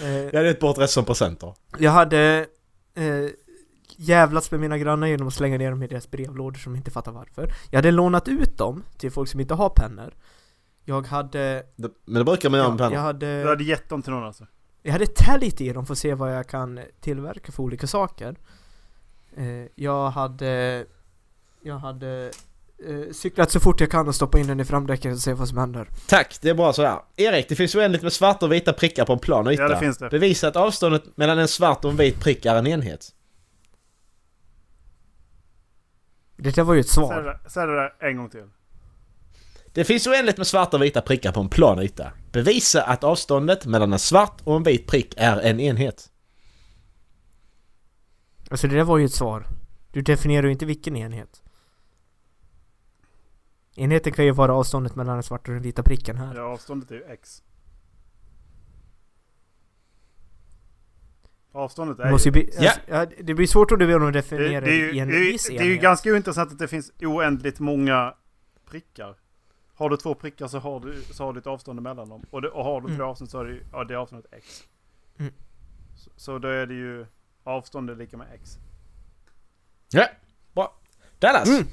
S1: Eh,
S3: Jag hade gett bort resten som presenter.
S1: jag hade eh, jävlats med mina grannar genom att slänga ner dem i deras brevlådor som inte fattar varför. Jag hade lånat ut dem till folk som inte har pennor. Jag hade...
S3: Det- Men det brukar man göra med
S1: Jag,
S3: pennor.
S1: jag
S2: Du
S1: hade...
S2: hade gett dem till någon alltså.
S1: Jag hade täljt i dem för att se vad jag kan tillverka för olika saker. Eh, jag hade... Jag hade eh, cyklat så fort jag kan och stoppa in den i framdäcken och se vad som händer.
S3: Tack, det är bra sådär. Erik, det finns oändligt med svarta och vita prickar på en plan yta.
S2: Ja det finns det.
S3: Bevisa att avståndet mellan en svart och en vit prick är en enhet.
S1: Det där var ju ett
S2: Säg det
S1: svar.
S2: där- Säg det där en gång till.
S3: Det finns oändligt med svarta och vita prickar på en plan yta. Bevisa att avståndet mellan en svart och en vit prick är en enhet.
S1: Alltså det där var ju ett svar. Du definierar ju inte vilken enhet. Enheten kan ju vara avståndet mellan den svarta och den vita pricken här.
S2: Ja, avståndet är ju X. Avståndet
S1: Det,
S2: är
S1: måste ju
S2: ju...
S1: bli,
S3: Ja.
S1: alltså, ja. det blir svårt om du vill
S2: Det,
S1: definiera
S2: det, är ju,
S1: i en
S2: det, är ju,
S1: viss
S2: det är ju
S1: enhet.
S2: ganska ointressant att det finns oändligt många prickar. Har du två prickar så har du, så har du ett avstånd mellan dem. Och, det, och har du
S1: Mm.
S2: två avstånd så har du ja, det är avståndet X.
S1: Mm.
S2: Så, så då är det ju avstånd är lika med X.
S3: Ja, bra. Dallas.
S1: Mm.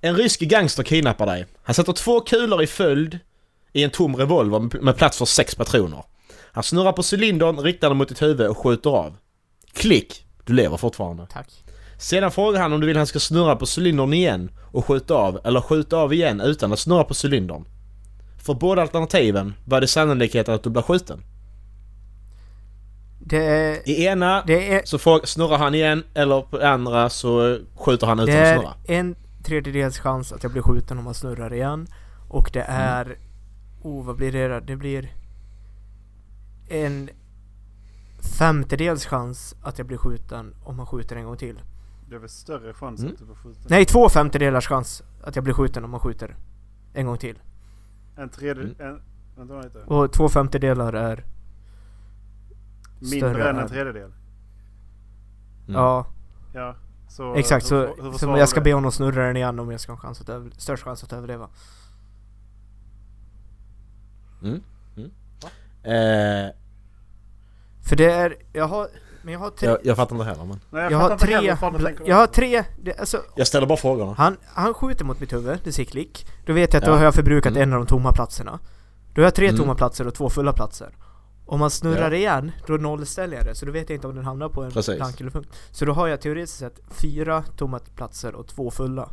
S3: En rysk gangster kidnappar dig. Han sätter två kulor i följd i en tom revolver med- med plats för sex patroner. Han snurrar på cylindern, riktar den mot ditt huvud och skjuter av. Klick! Du lever fortfarande.
S1: Tack.
S3: Sedan frågar han om du vill han ska snurra på cylindern igen och skjuta av, eller skjuta av igen utan att snurra på cylindern. För båda alternativen var det sannolikheten att du blir skjuten.
S1: Det är...
S3: I ena
S1: Det är,
S3: så frågar- snurrar han igen, eller på det andra så skjuter han
S1: det
S3: utan att
S1: är
S3: snurra.
S1: en tredjedels chans att jag blir skjuten om man snurrar igen. Och det
S3: Mm.
S1: är... Oh, vad blir det då? Det blir... En femtedels chans att jag blir skjuten om man skjuter en gång till.
S2: Det är väl större chans
S3: Mm.
S2: att du blir skjuten.
S1: Nej, två femtedelars chans att jag blir skjuten om man skjuter en gång till.
S2: En tredje...
S3: Mm.
S2: En, vänta lite.
S1: Och två femtedelar är...
S2: Mindre än
S1: är-
S2: en tredjedel.
S3: Mm.
S1: Ja,
S2: Ja. Så,
S1: exakt.
S2: hur-
S1: Så,
S2: hur
S1: så
S2: försvarar
S1: jag
S2: du
S1: ska
S2: det?
S1: be honom snurra den igen om jag ska ha en chans att över, störst chans att överleva.
S3: Eh,
S1: För det är... Jag har... Men jag har tre...
S3: jag, jag fattar inte heller men...
S2: Nej,
S1: jag,
S2: jag,
S1: har tre...
S2: Jag,
S1: jag har tre... Det, alltså,
S3: Jag ställer bara frågorna.
S1: Han, han skjuter mot mitt huvud, det säger klick. Då vet jag att då
S3: Ja.
S1: har jag förbrukat
S3: Mm.
S1: en av de tomma platserna. Då har jag tre
S3: Mm.
S1: tomma platser och två fulla platser. Om man snurrar igen, då nollställer jag det. Så då vet jag inte om den hamnar på en
S3: Precis.
S1: blank eller punkt. Så då har jag teoretiskt sett fyra tomma platser och två fulla.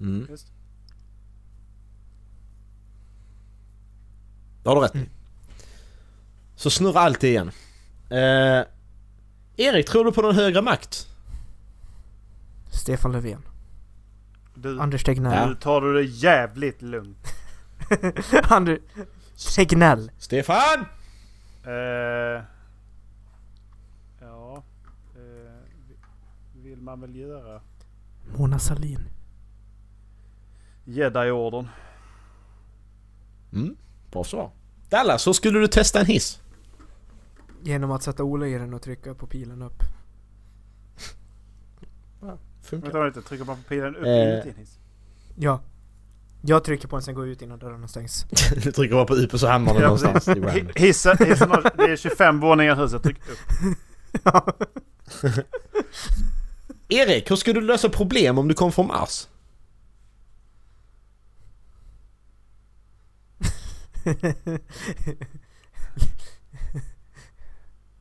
S3: Mm.
S2: Just.
S3: Det har du rätt i.
S1: Mm.
S3: Så snurra alltid igen. Eh, Erik, tror du på någon högre makt?
S1: Stefan Löfven.
S2: du,
S1: Anders Tegnell.
S2: nu tar du det jävligt lugnt.
S1: Anders Tegnell.
S3: Stefan!
S2: Eh, ja. Eh, vill man väl göra.
S1: Mona Sahlin.
S2: Jedi-ordern.
S3: Mm, bra svar. Dallas, hur skulle du testa en hiss?
S1: Genom att sätta Ola i den och trycka på pilen upp.
S3: Funkar.
S2: Vänta lite, trycker man på pilen upp
S3: Eh.
S2: inuti en hiss?
S1: Ja. Jag trycker på den sen går jag ut innan dörrarna stängs.
S3: du trycker bara på UP och så hamnar den
S2: Ja,
S3: någonstans. i
S2: Hi-
S3: random.
S2: Hissen, hissen har, det är 25 våningar i huset, tryck upp.
S3: Erik, hur skulle du lösa problem om du kom från Mars?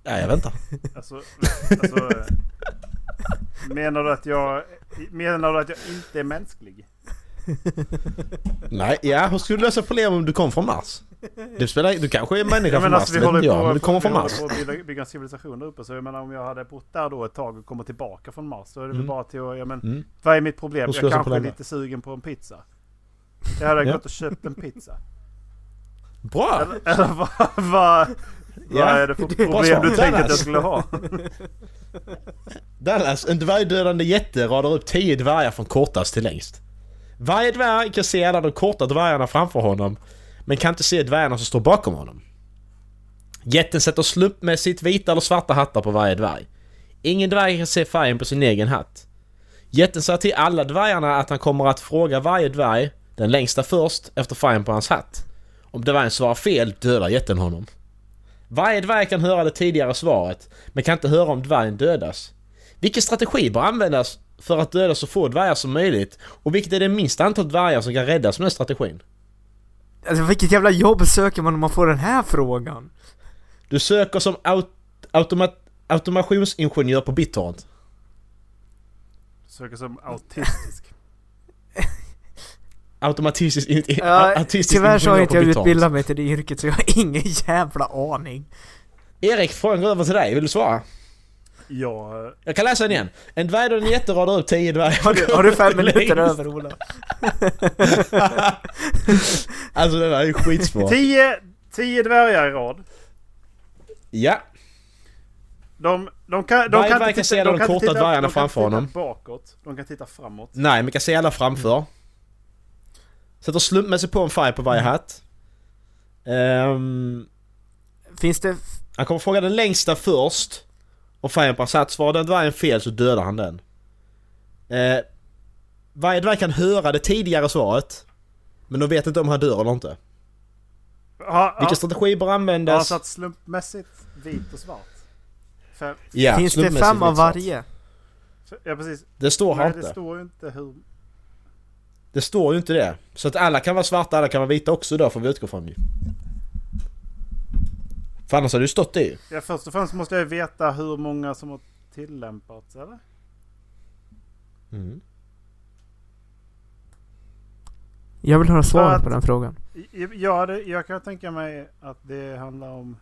S3: Nej, jag väntar.
S2: Alltså, alltså, eh, menar, du att jag, menar du att jag inte är mänsklig?
S3: Nej, ja, hur skulle du lösa problem om du kom från Mars? Du, spelar, du kanske är människa
S2: Jag
S3: från
S2: menar,
S3: Mars,
S2: alltså,
S3: det
S2: vi
S3: vet
S2: håller
S3: inte
S2: ju på,
S3: jag, men du kommer
S2: vi
S3: från Mars.
S2: håller på att bygga, bygga en civilisation där uppe. Så jag menar om jag hade bott där då ett tag och kommer tillbaka från Mars så är det väl
S3: Mm.
S2: bara till att, ja men
S3: Mm.
S2: vad är mitt problem?
S3: Då ska
S2: Jag
S3: jag se på
S2: kanske är
S3: den där.
S2: lite sugen på en pizza. Jag hade
S3: Ja.
S2: gått och köpt en pizza.
S3: Bra!
S2: Eller, eller vad, vad, vad är det för problem
S3: svar.
S2: du tänkte att jag
S3: Dallas.
S2: skulle ha?
S3: Dallas, en dvärgdödande jätte radar upp 10 dvärgar från kortast till längst. Varje dvärg kan se alla de korta dvärgarna framför honom, men kan inte se dvärgarna som står bakom honom. Jätten sätter slumpmässigt vita eller svarta hattar på varje dvärg. Ingen dvärg kan se färgen på sin egen hatt. Jätten säger till alla dvärgarna att han kommer att fråga varje dvärg, den längsta först, efter färgen på hans hatt. Om dvärgen svarar fel dödar jätten honom. Varje dvärg kan höra det tidigare svaret, men kan inte höra om dvärgen dödas. Vilken strategi bör användas för att döda så få dvärgar som möjligt? Och vilket är det minsta antal dvärgar som kan räddas med den strategin?
S1: Alltså vilket jävla jobb söker man om man får den här frågan?
S3: Du söker som aut- automa- automationsingenjör på BitTorrent.
S2: Söker som autistisk.
S3: Automatistisk... In- in-
S1: Ja,
S3: autistisk
S1: tyvärr så har
S3: ingenjör
S1: inte
S3: på
S1: jag
S3: BitTorrent.
S1: utbildat mig till det yrket så jag har ingen jävla aning.
S3: Erik, frågan går över till dig. Vill du svara?
S2: Ja, eh,
S3: Jag kan läsa den igen. En dvärg och en jätte radar upp tio dvärgar.
S1: Har du, har du fem minuter
S3: Längst.
S1: över Ola?
S3: alltså den där är ju skitsvår.
S2: tio, tio dvärgar i rad.
S3: Ja.
S2: De, de kan, de
S3: Varje
S2: kan
S3: dvärg
S2: inte
S3: kan
S2: titta,
S3: se de
S2: kan inte
S3: korta
S2: titta-
S3: dvärgarna
S2: de kan inte
S3: framför
S2: titta
S3: honom.
S2: bakåt, de kan titta framåt.
S3: Nej, men kan se alla framför. Sätter slumpmässigt på en färg på varje hatt. Ehm,
S1: Finns det... f-
S3: han kommer fråga den längsta först. Om färgen på hans hatt svarar den dvärgen fel så dödar han den. Eh, varje dvärg kan höra det tidigare svaret. Men de vet inte om han dör eller inte.
S2: Ja, ja.
S3: Vilken strategi bör
S2: Ja,
S3: användas?
S2: så att slumpmässigt vit och svart. Fem.
S3: Ja,
S1: finns det
S3: slumpmässigt
S1: fem av
S3: rätt svar.
S1: varje?
S2: Ja, precis.
S3: Det står här
S2: Nej,
S3: inte.
S2: det står ju inte hur...
S3: Det står ju inte det. Så att alla kan vara svarta, alla kan vara vita också då får vi utgå från ju. För annars hade det ju stått det ju.
S2: Ja, först och främst måste jag ju veta hur många som har tillämpats, eller?
S1: Jag vill höra
S2: För
S1: svaret
S2: att-
S1: på den frågan.
S2: I- i- Ja, det, jag kan tänka mig att det handlar om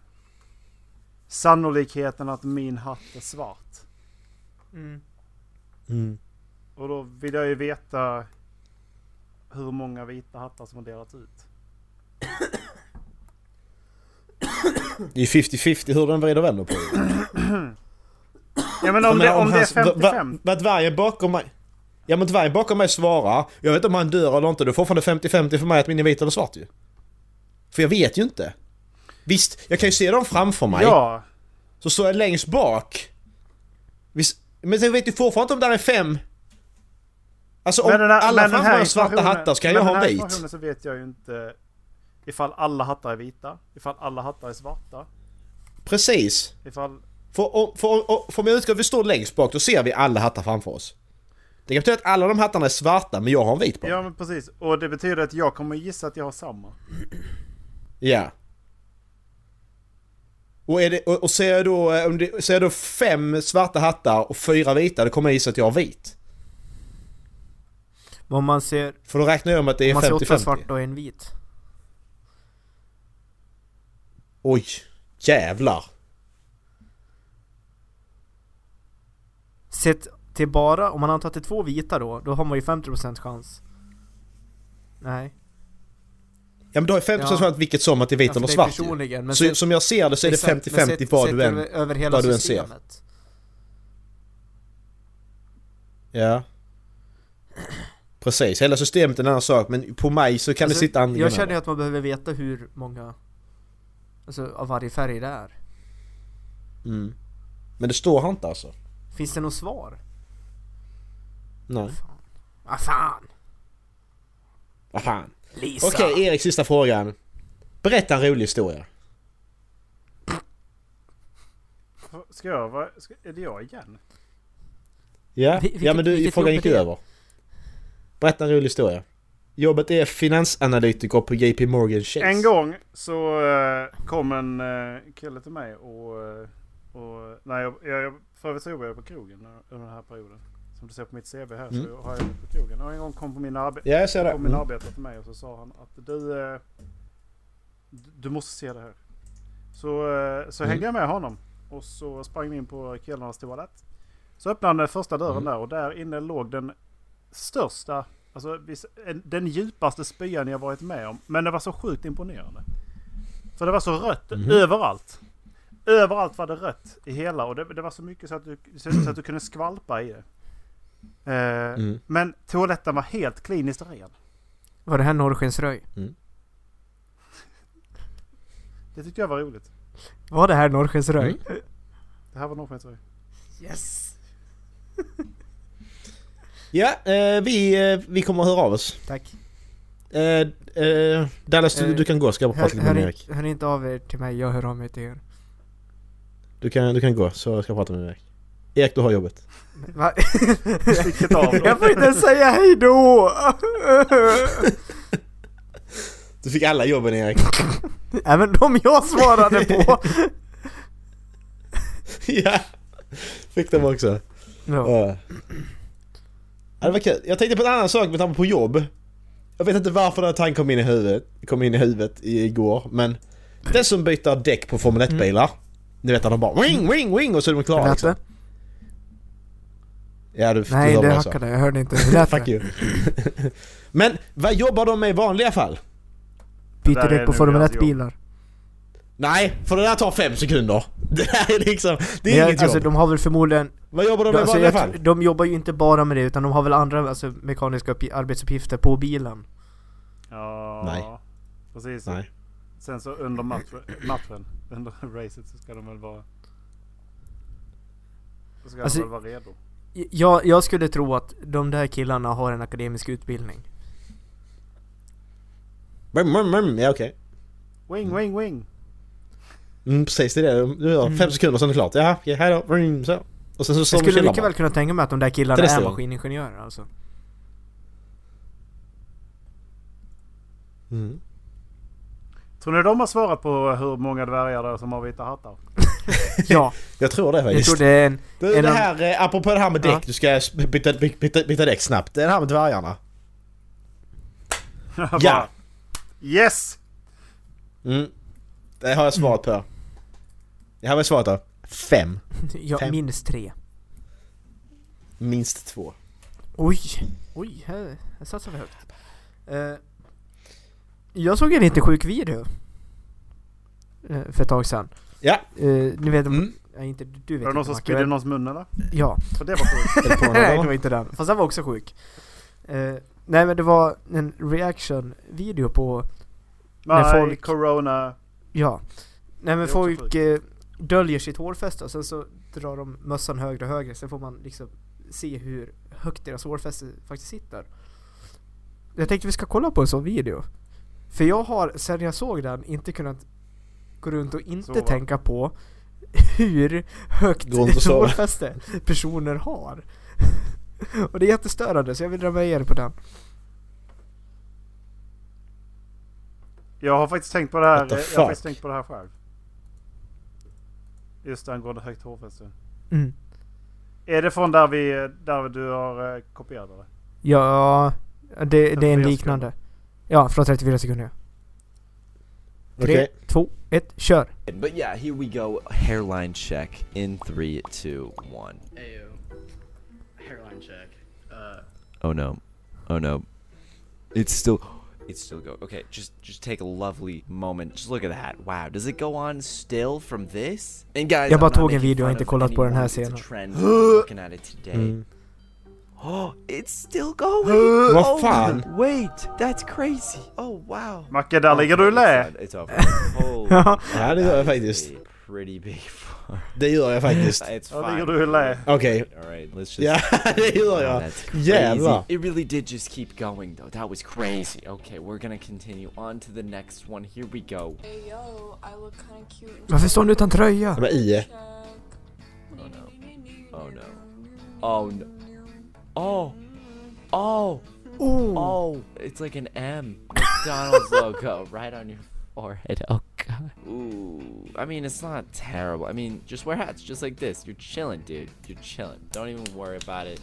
S2: sannolikheten att min hatt är svart. Mm. Och då vill jag ju veta hur många vita hattar som har delats ut.
S3: Det är ju 50-50 hur den vrider och vänder på det.
S2: Ja men om,
S3: Jag menar,
S2: det, om det är
S3: hans- va-
S2: 55.
S3: va- Vad dvärgen bakom mig... Ja men dvärgen bakom mig svarar. Jag vet inte om han dör eller inte. Då är fortfarande 50-50 för mig att min är vit eller svart ju. För jag vet ju inte. Visst, jag kan ju se dem framför mig.
S2: Ja,
S3: Så står jag längst bak. Visst, men sen vet ju fortfarande inte om där är fem. Alltså om
S2: men den här,
S3: alla
S2: men den
S3: framför
S2: här
S3: mig har svarta
S2: informationen-
S3: hattar så kan
S2: men
S3: jag
S2: den
S3: ha
S2: här
S3: en vit.
S2: informationen så vet jag ju inte ifall alla hattar är vita, ifall alla hattar är svarta,
S3: Precis.
S2: ifall...
S3: För om, för, om- om, för om jag utgår, vi står längst bak, då ser vi alla hattar framför oss. Det kan betyda att alla de hattarna är svarta, men jag har en vit på.
S2: Ja men precis, och det betyder att jag kommer gissa att jag har samma.
S3: Ja. Och, är det, och, och ser, jag då, eh, om det, ser jag då fem svarta hattar och fyra vita, då kommer jag gissa att jag har vit.
S1: Men Om man ser,
S3: För då räknar jag med att det
S1: om
S3: är
S1: man ser åtta
S3: 50-50.
S1: svarta och en vit.
S3: Oj, jävlar.
S1: Sett till bara, om man antar att det är två vita då, då har man ju 50% chans. Nej.
S3: Ja men då är 50%
S1: Ja.
S3: svarat vilket som att det är vit
S1: Ja, för
S3: eller
S1: dig
S3: svart ju.
S1: personligen, men
S3: Så, som jag ser det så är det
S1: exakt, men
S3: 50-50
S1: sett-
S3: vad
S1: sett
S3: du än...
S1: över- över hela
S3: vad du än ser.
S1: systemet.
S3: Ja. Precis, hela systemet är en annan sak men på mig så kan
S1: Alltså,
S3: det sitta andra
S1: Jag känner ju att man behöver veta hur många Alltså av varje färg det är
S3: mm. Men det står han inte alltså?
S1: Finns det något svar?
S3: Nej.
S1: Ah fan!
S3: Vad fan.
S1: Lisa!
S3: Okej, Erik sista frågan. Berätta en rolig historia.
S2: Ska jag vara... Ska, är det jag igen?
S3: Ja,
S1: Vi- vilket-
S3: ja men du,
S1: vilket
S3: frågan
S1: jobb
S3: gick
S1: är
S3: ju
S1: det?
S3: över. Berätta en rolig historia. Jobbet är finansanalytiker på JP Morgan Chase.
S2: En gång så eh, kom en eh, kille till mig och... eh, och nej, jag, jag, för övrigt så jobbade jag på krogen under den här perioden. Som du ser på mitt CV här
S3: Mm.
S2: så har jag jobbat på krogen. Och en gång kom på min arbete.
S3: Ja, jag ser det.
S2: kom min
S3: Mm.
S2: arbetare till mig och så sa han att du, eh, du- du måste se det här. Så, eh, så
S3: Mm.
S2: hängde jag med honom och så sprang vi in på killarnas toalett. Så öppnade han den första dörren
S3: Mm.
S2: där och där inne låg den största, alltså vis- en- den djupaste spyan jag varit med om. Men det var så sjukt imponerande. För det var så rött
S3: Mhm.
S2: överallt. Överallt var det rött i hela och det, det var så mycket så att du, så, så att du kunde skvalpa i det. Eh,
S3: Mm.
S2: Men toaletten var helt kliniskt ren.
S1: Var det här Norrskensröj?
S2: Det tyckte jag var roligt.
S1: Var det här Norrskensröj?
S3: Mm.
S2: Det här var nog skämt.
S1: Yes!
S3: Ja, eh, vi, eh, vi kommer att höra av oss.
S1: Tack!
S3: Eh, eh, Dallas, du,
S1: Eh,
S3: du kan gå ska jag
S1: Hör,
S3: prata lite
S1: hör,
S3: med
S1: inte,
S3: Erik.
S1: hör inte av er till mig, jag hör av mig till er.
S3: Du kan, du kan gå så ska jag prata med Erik. Erik, du har jobbet.
S1: Va?
S2: Vilket av dem?
S1: jag får inte ens säga hejdå!
S3: Du fick alla jobben Erik.
S1: Även de jag svarade på!
S3: ja! Fick dem också.
S1: Ja.
S3: Ja. Ja, det var kul. Jag tänkte på en annan sak med tanke på jobb. Jag vet inte varför den här tanken kom in i huvudet, kom in i huvudet igår, men den som byter däck på Formel 1-bilar. Ni vet att de bara wing, wing, wing och så är de klara
S1: Lät
S3: liksom.
S1: det?
S3: Ja, du, du
S1: Nej
S3: hör
S1: det
S3: vad jag sa.
S1: hackade, jag hörde inte. Hur lät
S3: Fuck
S1: det?
S3: you. men vad jobbar de med i vanliga fall?
S2: Det
S1: Byter
S2: där är
S1: däck på
S2: nu
S1: Formel
S2: deras
S1: 1-bilar.
S3: Nej, för det där tar fem sekunder. Det här är liksom, det är
S1: Men jag-
S3: inget
S1: Alltså
S3: jobb.
S1: de har väl förmodligen
S3: Vad jobbar de med i
S1: alltså,
S3: vanliga
S1: jag,
S3: fall?
S1: tr- de jobbar ju inte bara med det utan de har väl andra alltså, mekaniska uppi- arbetsuppgifter på bilen.
S2: Ja,
S3: Nej.
S2: Precis.
S3: Nej.
S2: Sen så under matchen, matchen under racet så ska de väl vara... Så ska
S1: Alltså-
S2: de väl vara redo.
S1: Jag, jag skulle tro att de där killarna har en akademisk utbildning.
S3: Mm, mm, mm, Ja, okej.
S2: Wing, wing, wing!
S3: Mm, precis, det är det. Du har fem sekunder sen är det klart. Jaha, ja, hej då. Mm, så. Och sen så står
S1: Jag
S3: de och
S1: Mm. skulle
S3: chillar
S1: mycket
S3: bara.
S1: väl kunna tänka mig att de där killarna
S3: Till nästa
S1: är
S3: gång.
S1: maskiningenjörer alltså.
S3: Mm.
S2: Tror ni de har svarat på hur många dvärgar det är som har vita hattar?
S1: Ja,
S3: Jag tror det
S1: jag
S3: faktiskt.
S1: tror det är en...
S3: Du,
S1: En
S3: det
S1: av-
S3: här, eh, apropå det här med däck,
S1: Ja.
S3: du ska s- byta, by- byta, byta däck snabbt. Det är det här med dvärgarna.
S2: Bara,
S3: Ja!
S2: Yes!
S3: Mm. Det har jag svarat på. Det här var svaret då. Fem.
S1: Ja,
S3: Fem.
S1: minst tre.
S3: Minst två.
S1: Oj, oj, här, här satsar vi högt. Eh, jag såg en inte sjuk video. Eh, för ett tag sedan.
S3: Ja.
S1: Eh, ni vet,
S3: Mm.
S1: nej, inte, du vet
S2: Var det någon
S1: inte
S2: som
S1: Macke,
S2: spydde i
S1: men-
S2: någons mun eller?
S1: Ja.
S2: För det var sjukt.
S3: Eller på
S1: nej, det
S3: någon
S1: var inte den. Fast den var också sjuk. Eh, nej men det var en reaction-video på,
S2: Nej,
S1: folk-
S2: corona.
S1: ja. Nej men
S2: också
S1: folk
S2: sjukt.
S1: eh, döljer sitt hårfäste och sen så drar de mössan högre och högre. Sen får man liksom se hur högt deras hårfäste faktiskt sitter. Jag tänkte vi ska kolla på en sån video. För jag har, sen jag såg den, inte kunnat gå runt och inte
S2: Sova.
S1: tänka på hur högt
S3: Gå runt och sova.
S1: hårfäste personer har. Och det är jättestörande så jag vill dra med er på den.
S2: Jag har faktiskt tänkt på det här.
S3: What the
S2: Jag har
S3: fuck?
S2: faktiskt tänkt på det här själv. Just angående högt hårfäste.
S1: Mm.
S2: Är det från där vi, där du har eh, kopierat eller?
S1: Ja, det, det är en
S2: 34
S1: liknande. Ja, från 34 sekunder.
S3: Okej. Okay.
S1: 2, 1, kör!
S6: But yeah, here we go. Hairline check in three, two, one.
S7: Ayo. Hairline check. Uh,
S6: Oh no. Oh no. It's still it's still go. Okay, just just take a lovely moment. Just look at that. Wow, does it go on still from this? And guys,
S1: Jag bara
S6: I'm
S1: tog
S6: not
S1: en
S6: making
S1: video och
S6: fun
S1: inte
S6: of
S1: kollat på den här
S6: anyone. It's a
S1: scenen.
S6: trend. We're looking at it today.
S3: Mm.
S6: Oh, it's still going.
S3: Vad
S6: oh,
S3: fan?
S6: Wait, that's crazy. Oh wow.
S2: Macke, där ligger du i lä!
S6: It's done, It's over. Holy
S1: Ja.
S3: Ja, det gör jag
S6: that is
S3: faktiskt.
S6: a Pretty big fart.
S3: Det gör jag faktiskt.
S6: It's
S2: Där ligger
S6: fine.
S2: du i lä!
S3: Okej.
S6: All right, let's just
S3: Ja, det gör
S6: Wow,
S3: jag.
S6: that's
S3: Jävlar.
S6: crazy. It really did just keep going though. That was crazy. Okay, we're gonna continue on to the next one. Here we go.
S8: Hey, yo, I look kinda cute in uh,
S1: Varför står hon utan tröja?
S3: Med i.
S8: check.
S6: Oh no. Oh no. Oh no. Oh. Oh.
S1: Oh.
S6: Oh. It's like an M. McDonald's logo right on your forehead. Oh god. Ooh. I mean, it's not terrible. I mean, just wear hats just like this. You're chilling, dude. You're chilling. Don't even worry about it.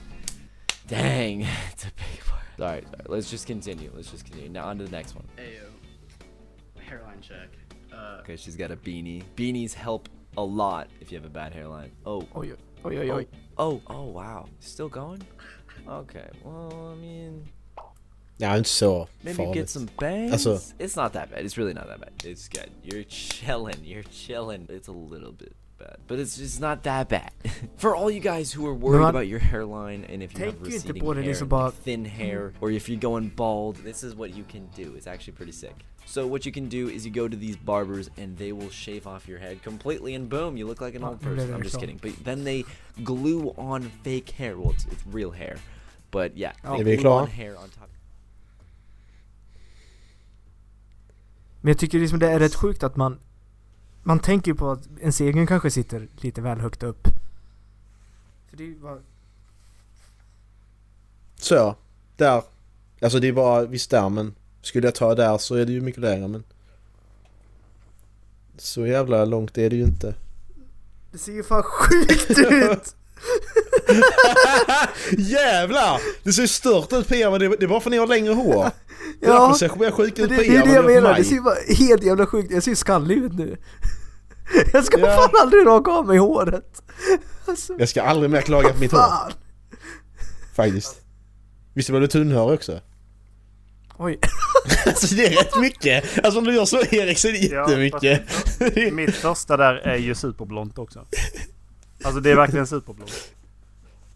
S6: Dang. it's a big part. Alright, alright, let's just continue. Let's just continue. Now on to the next one.
S7: Ayo. Hairline check. Uh,
S6: Okay, she's got a beanie. Beanies help a lot if you have a bad hairline. Oh,
S1: Oj, oj, oj, oj.
S6: oh, oh, wow. Still going? Okay, well, I mean,
S3: Ja, inte så
S6: maybe get
S3: farligt.
S6: some bangs.
S3: That's a-
S6: It's not that bad. It's really not that bad. It's good. You're chilling. You're chilling. It's a little bit bad, but it's just not that bad. For all you guys who are worried
S1: man-
S6: about your hairline and if you have
S1: Tänk ju inte
S6: receding
S1: på det
S6: hair,
S1: liksom
S6: and
S1: bara-
S6: thin hair, or if you're going bald, this is what you can do. It's actually pretty sick. So what you can do is you go to these barbers and they will shave off your head completely, and boom, you look like an
S1: Oh,
S6: old
S1: they're
S6: person.
S1: very
S6: I'm just
S1: strong.
S6: kidding. But then they glue on fake hair. Well, it's, it's real hair, but yeah,
S1: Oh.
S6: they
S3: Maybe
S6: glue on
S3: claw.
S6: hair on top.
S1: Men jag tycker liksom det är rätt sjukt att man Man tänker ju på att ens egen kanske sitter lite väl högt upp. För det är ju bara...
S3: Så. Där. Alltså det är bara visst där men. Skulle jag ta där så är det ju mycket lägre men. Så jävla långt är det ju inte.
S1: Det ser ju fan sjukt ut!
S3: Jävlar! Det ser ju stört ut på er men det det är bara för att ni har längre hår. Det är
S1: Ja,
S3: därför ser jag mer sjuk
S1: Men
S3: ut
S1: det,
S3: på
S1: det är
S3: er än
S1: det jag
S3: vad ni gör på
S1: menar,
S3: mig.
S1: det ser ju bara helt jävla sjukt Jag ser ju skallig ut nu. Jag ska
S3: Ja.
S1: fan aldrig raka av mig håret! Alltså,
S3: Jag ska aldrig mer klaga på mitt hår
S1: fan!
S3: faktiskt. Visst var du tunnhårig också?
S1: Oj.
S3: Alltså det är rätt mycket. Alltså om du gör så Erik så är det
S2: Ja,
S3: jättemycket.
S2: Mitt första där är ju superblont också. Alltså det är verkligen superblont.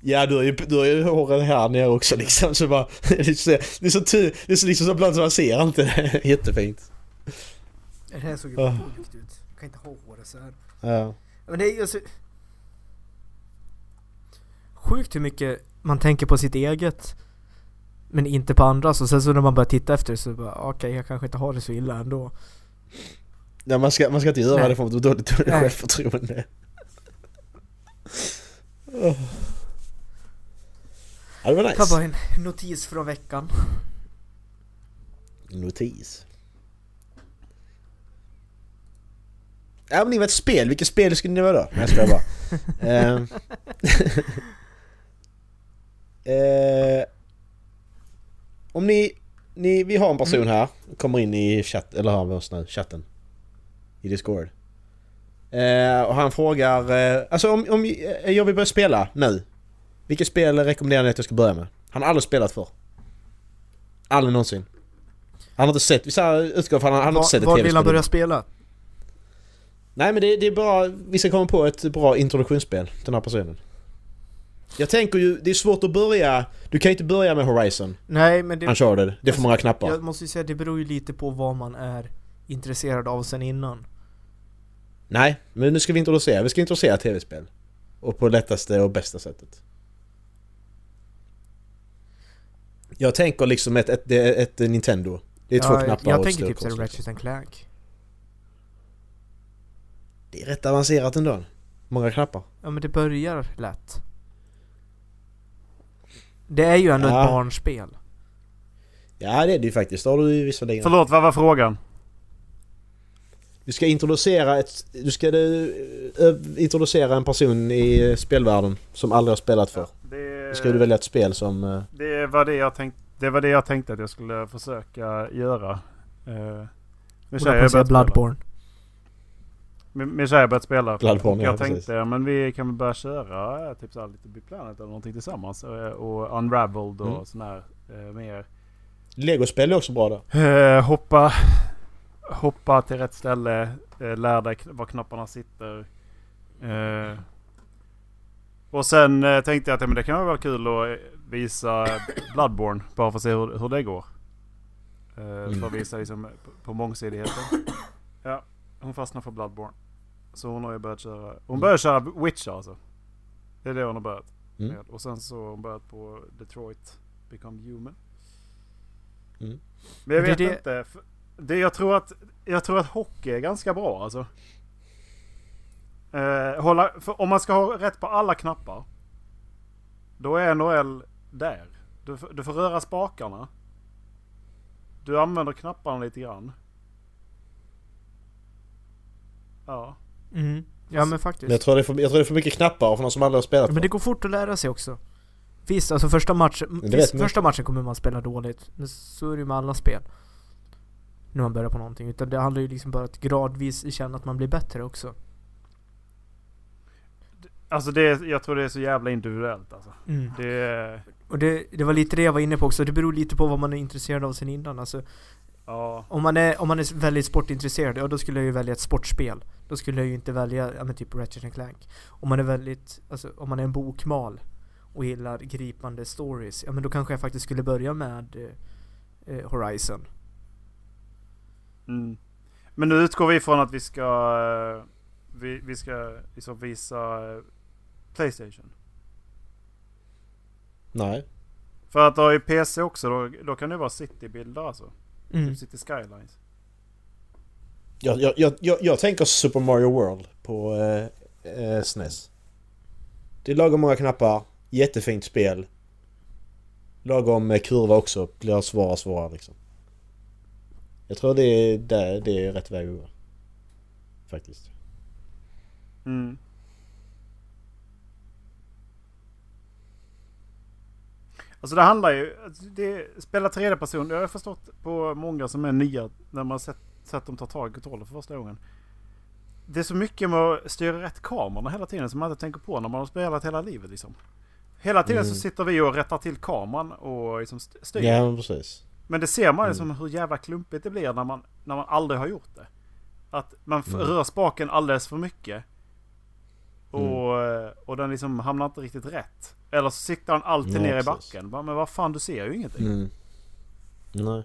S3: Ja du har ju, du har ju håret här nere också liksom så bara Det är så, det är så tur, det är så liksom så bland så man ser inte det. Jättefint.
S1: Det här såg ju
S3: Ah.
S1: sjukt ut. Jag kan inte ha håret så här.
S3: Ja.
S1: Men det är ju så... Sjukt hur mycket man tänker på sitt eget. Men inte på andras och sen så när man börjar titta efter det så bara "Ah, okej jag kanske inte har det så illa ändå.
S3: Nej, man, ska, man ska inte göra
S1: Nej.
S3: det för att man får dåligt, dåligt
S1: Nej.
S3: självförtroende. Oh. Ja det var
S1: Ta bara
S3: nice.
S1: en notis från veckan.
S3: Notis. Ja men ni var ett spel, vilket spel skulle ni vara då? Nej jag skojar bara. Ehm. Eh, om ni, ni, vi har en
S1: Mm.
S3: person här, kommer in i chatt, eller har vi oss nu, chatten. I Discord. Eh, och han frågar, eh, alltså om, om eh, jag vill börja spela nu. Vilket spel rekommenderar ni att jag ska börja med? Han har aldrig spelat för. Aldrig någonsin. Han har inte sett, vi sa utgår från han, han har inte sett ett
S1: Vad vill han
S3: tv-spel.
S1: börja spela?
S3: Nej men det, det är bara, vi ska komma på ett bra introduktionsspel till den här personen. Jag tänker ju, det är svårt att börja, du kan ju inte börja med Horizon,
S1: Nej men det...
S3: Uncharted, det är för många knappar.
S1: Jag måste ju säga det beror ju lite på vad man är intresserad av sen innan.
S3: Nej, men nu ska vi introducera, vi ska introducera tv-spel. Och på lättaste och bästa sättet. Jag tänker liksom ett, ett, ett, ett Nintendo. Det är två
S1: jag,
S3: knappar
S1: jag
S3: och ett
S1: tänker typ
S3: störkors,
S1: såhär
S3: liksom.
S1: Ratchet and Clank.
S3: Det är rätt avancerat ändå. Många knappar.
S1: Ja men det börjar lätt. Det är ju ändå
S3: Ja.
S1: ett barnspel.
S3: Ja det är det ju faktiskt, det har du ju visserligen.
S2: Förlåt, vad var frågan?
S3: Du ska introducera ett... Du ska eh, ö- introducera en person i eh, spelvärlden som aldrig har spelat för.
S2: Det,
S3: Då ska du välja ett spel som... eh,
S2: det, var det, jag tänkt, det var det jag tänkte att jag skulle försöka göra. Eh, Min
S1: Och då
S2: tjej
S1: kan
S2: har börjat
S1: säga
S2: spela.
S1: Bloodborne.
S2: Min min tjej har börjat spela.
S3: Bloodborne,
S2: jag
S3: ja,
S2: tänkte,
S3: precis.
S2: men vi kan väl börja köra eh, typ såhär lite Big Planet eller någonting tillsammans. eh, Och Unraveled och
S3: Mm.
S2: sån här eh, mer.
S3: Legospel är också bra där.
S2: Eh, hoppa, hoppa till rätt ställe. Eh, lär dig kn- var knapparna sitter. Eh, och sen eh, tänkte jag att ja, men det kan vara kul att eh, visa Bloodborne. Bara för att se hur, hur det går. Eh, För att visa liksom, på, på mångsidigheten. Ja, hon fastnar för Bloodborne. Så hon har ju börjat köra. Hon börjar köra Witcher alltså. Det är det hon har börjat
S3: Mm.
S2: med. Och sen så har hon börjat på Detroit Become Human.
S3: Mm.
S2: Men jag
S1: Det är
S2: vet
S1: det-
S2: inte. f- Det, jag, tror att, jag tror att hockey är ganska bra alltså. Eh, hålla, för om man ska ha rätt på alla knappar. Då är NHL där. Du, f- du får röra spakarna. Du använder knapparna lite grann. Ja. Alltså,
S1: Mm. Ja men faktiskt.
S3: Men jag tror, det är för, jag tror det är för mycket knappar för någon som aldrig har spelat
S1: Men
S3: för.
S1: det går fort att lära sig också. Visst, alltså första matchen,
S3: det vet
S1: visst,
S3: man.
S1: första matchen kommer man spela dåligt. Men så är det ju med alla spel. När man börjar på någonting. Utan det handlar ju liksom bara att gradvis känna att man blir bättre också.
S2: Alltså det, är- jag tror det är så jävla individuellt alltså.
S1: Mm.
S2: Det är,
S1: Och det, det var lite det jag var inne på också. Det beror lite på vad man är intresserad av sen innan. Alltså,
S2: ja.
S1: om, man är, om man är väldigt sportintresserad, ja då skulle jag ju välja ett sportspel. Då skulle jag ju inte välja, ja men typ Ratchet and Clank. Om man är väldigt, alltså om man är en bokmal och gillar gripande stories, ja men då kanske jag faktiskt skulle börja med eh, eh, Horizon.
S2: Mm. Men nu utgår vi från att vi ska, eh, vi, vi ska liksom visa eh, Playstation.
S3: Nej.
S2: För att ha i PC också då, då kan det vara citybilder alltså.
S1: Mm.
S2: Typ City Skylines.
S3: Jag, jag, jag, jag, jag tänker Super Mario World på eh, eh, SNES. Det är lagom många knappar, jättefint spel. Lagom eh, kurva också, blir svårare och svårare liksom. Jag tror det är, där, det är rätt väg att gå. Faktiskt.
S2: Mm. Alltså det handlar ju, alltså det, spela tredje person, det har jag förstått på många som är nya när man har sett, sett dem ta tag i kontrollen för första gången. Det är så mycket med att styra rätt kamerorna hela tiden som man inte tänker på när man har spelat hela livet liksom. Hela tiden så
S3: Mm.
S2: sitter vi och rättar till kameran och liksom st- styr.
S3: Ja, men precis.
S2: Men det ser
S3: Mm.
S2: man ju som hur jävla klumpigt det blir när man, när
S3: Mm.
S2: man aldrig har gjort det. Att man f- rör spaken alldeles för mycket. Och,
S3: Mm.
S2: och den liksom hamnar inte riktigt rätt. Eller så siktar han alltid
S3: Ja,
S2: ner i
S3: precis.
S2: backen. Bara, men vad fan du ser ju ingenting.
S3: Mm. Nej.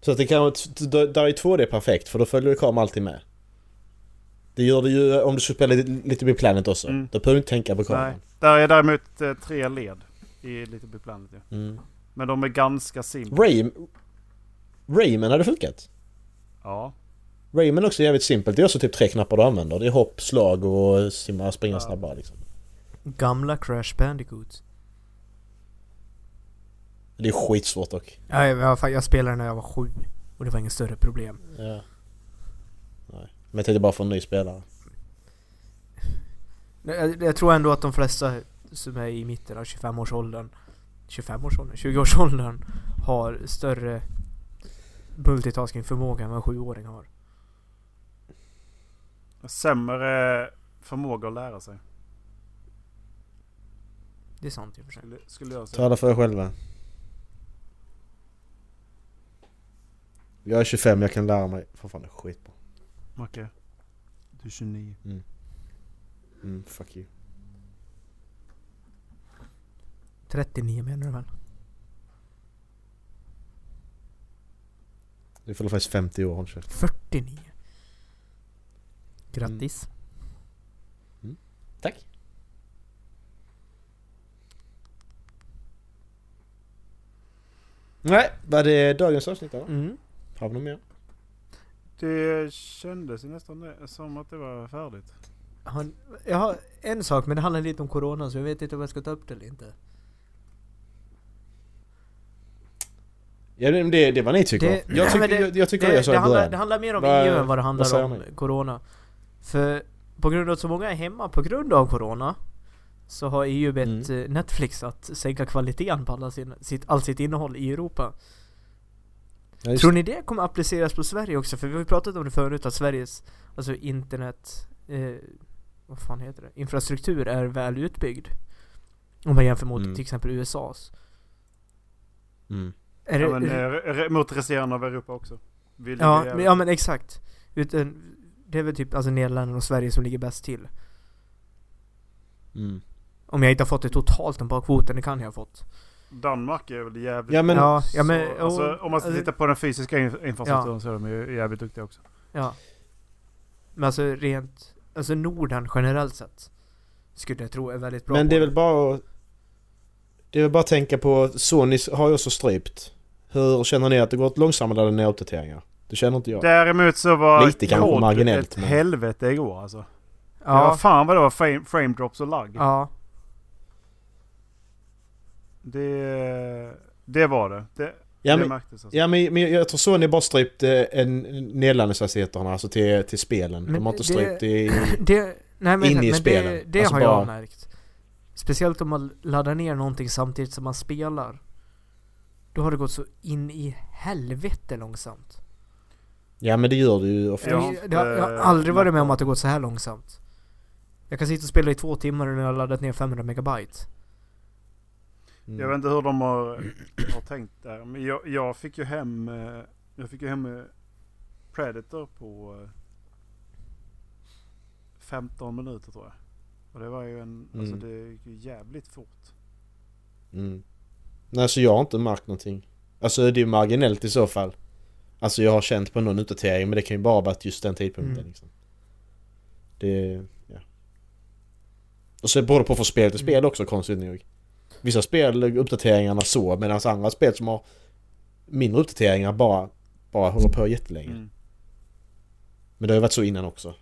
S3: Så att det kan, d- där är 2D perfekt för då följer kameran alltid med. Det gör det ju eh, om du skulle spela lite Little Big Planet också.
S2: Mm.
S3: Då behöver du inte tänka på
S2: Nej.
S3: kameran.
S2: Där är däremot eh, tre led. I lite Big Planet ju.
S3: Mm.
S2: Men de är ganska simpla.
S3: Ray, Rayman hade funkat.
S2: Ja.
S3: Rayman också är jävligt simpelt. Det är också typ tre knappar du använder. Det är hopp, slag och simma, springa
S2: Ja.
S3: snabbare liksom.
S1: Gamla Crash Bandicoot.
S3: Det är skitsvårt dock.
S1: Ja, jag, jag, fan, jag spelade när jag var sju. Och det var inget större problem.
S3: Ja. Nej. Men jag tänkte bara för en ny spelare.
S1: Men Jag, jag tror ändå att de flesta som är i mitten av 25-årsåldern 25-årsåldern? 20-årsåldern har större multitasking-förmåga än vad en sjuåring har.
S2: Sämre eh, förmåga att lära sig.
S1: Det är sant i och för sig.
S2: Skulle, skulle jag säga.
S3: Tala för er själva. Jag är 25, jag kan lära mig. För fan, det är skitbra.
S2: Macke. Du är 29.
S3: Mm, fuck you.
S1: 39 menar du väl?
S3: Du fyller faktiskt 50 år, håll käften.
S1: 49? Grattis.
S3: Tack. Nej, var det dagens avsnitt eller?
S1: Mm.
S3: Har vi något mer?
S2: Det kändes ju nästan eh, som att det var färdigt.
S1: Har, jag har en sak, men det handlar lite om corona så jag vet inte om jag ska ta upp det eller inte.
S3: Ja, det, det, det är vad ni tycker.
S1: Det-
S3: jag, tycker
S1: men det-
S3: jag, jag tycker det,
S1: det,
S3: jag sa
S1: det,
S3: i
S1: handlar,
S3: början.
S1: det handlar mer om
S3: Vad-
S1: EU än vad det handlar
S3: säger
S1: om
S3: ni?
S1: Corona. För på grund av att så många är hemma på grund av Corona så har EU bett
S3: Mm.
S1: eh, Netflix att sänka kvaliteten på alla sin, sitt, allt sitt innehåll i Europa.
S3: Ja, just-
S1: Tror ni det kommer appliceras på Sverige också? För vi har ju pratat om det förut att Sveriges, alltså internet, eh, vad fan heter det? Infrastruktur är väl utbyggd. Om man jämför mot
S3: Mm.
S1: till exempel USAs.
S3: mm.
S1: Är
S2: Ja,
S1: det-
S2: men, eh, re- re- mot resterande av Europa också. Vi ligger
S1: Ja,
S2: jävligt-
S1: men, ja men exakt. Utan, det är väl typ alltså Nederländerna och Sverige som ligger bäst till.
S3: Mm.
S1: Om jag inte har fått det totalt om bakfoten, det kan jag ha fått.
S2: Danmark är väl jävligt...
S3: Ja, men-
S1: ja, ja, men,
S2: så, alltså,
S1: och-
S2: om man ska
S1: alltså,
S2: titta på den fysiska inf- infrastrukturen så är de ju jävligt duktiga också.
S1: Ja. Men alltså rent, alltså Norden generellt sett. Skulle jag tro är väldigt bra
S3: Men
S1: på
S3: det är väl bara att- Det är väl bara att tänka på Sony har ju också strypt. Hur känner ni att det gått långsammare när den är uppdateringar? Det känner inte jag.
S2: Däremot så var
S3: Lite kanske
S2: Cod
S3: marginellt,
S2: ett
S3: men-
S2: helvete igår alltså. Ja.
S1: Ja.
S2: fan vad det var frame, frame drops och lagg.
S1: Ja.
S2: Det, det var det. Det,
S3: Ja,
S2: det
S3: men,
S2: märktes alltså.
S3: ja, men, men jag tror Sony bara strypt eh, en nedladdningshastigheterna, alltså till, till spelen.
S1: Men
S3: de har inte
S1: det-
S3: strypt i...
S1: Det, nej men,
S3: In i
S1: men det,
S3: spelen.
S1: det
S3: Alltså
S1: har
S3: bara-
S1: jag märkt. Speciellt om man laddar ner någonting samtidigt som man spelar. Då har det gått så in i helvete långsamt.
S3: Ja men det gör det ju ofta.
S2: Ja.
S1: Jag, det har, jag har
S2: eh,
S1: aldrig varit med om
S2: mappar.
S1: att det gått så här långsamt. Jag kan sitta och spela i två timmar och när jag har laddat ner 500 megabyte.
S3: Mm.
S2: Jag vet inte hur de har, har tänkt där. Men jag, jag fick ju hem... eh, Jag fick ju hem eh, Predator på eh, 15 minuter tror jag. Och det var ju en... Alltså
S3: Mm.
S2: det gick ju jävligt fort.
S3: Mm. Nej så jag har inte märkt någonting. Alltså det är ju marginellt i så fall. Alltså jag har känt på någon uppdatering men det kan ju bara vara att just den tidpunkten
S1: Mm.
S3: liksom. Det... Ja. Och så beror det på från spel till spel också konstigt nog. Vissa spel uppdateringarna så medan andra spel som har mindre uppdateringar bara, bara håller på jättelänge.
S2: Mm.
S3: Men det har ju varit så innan också.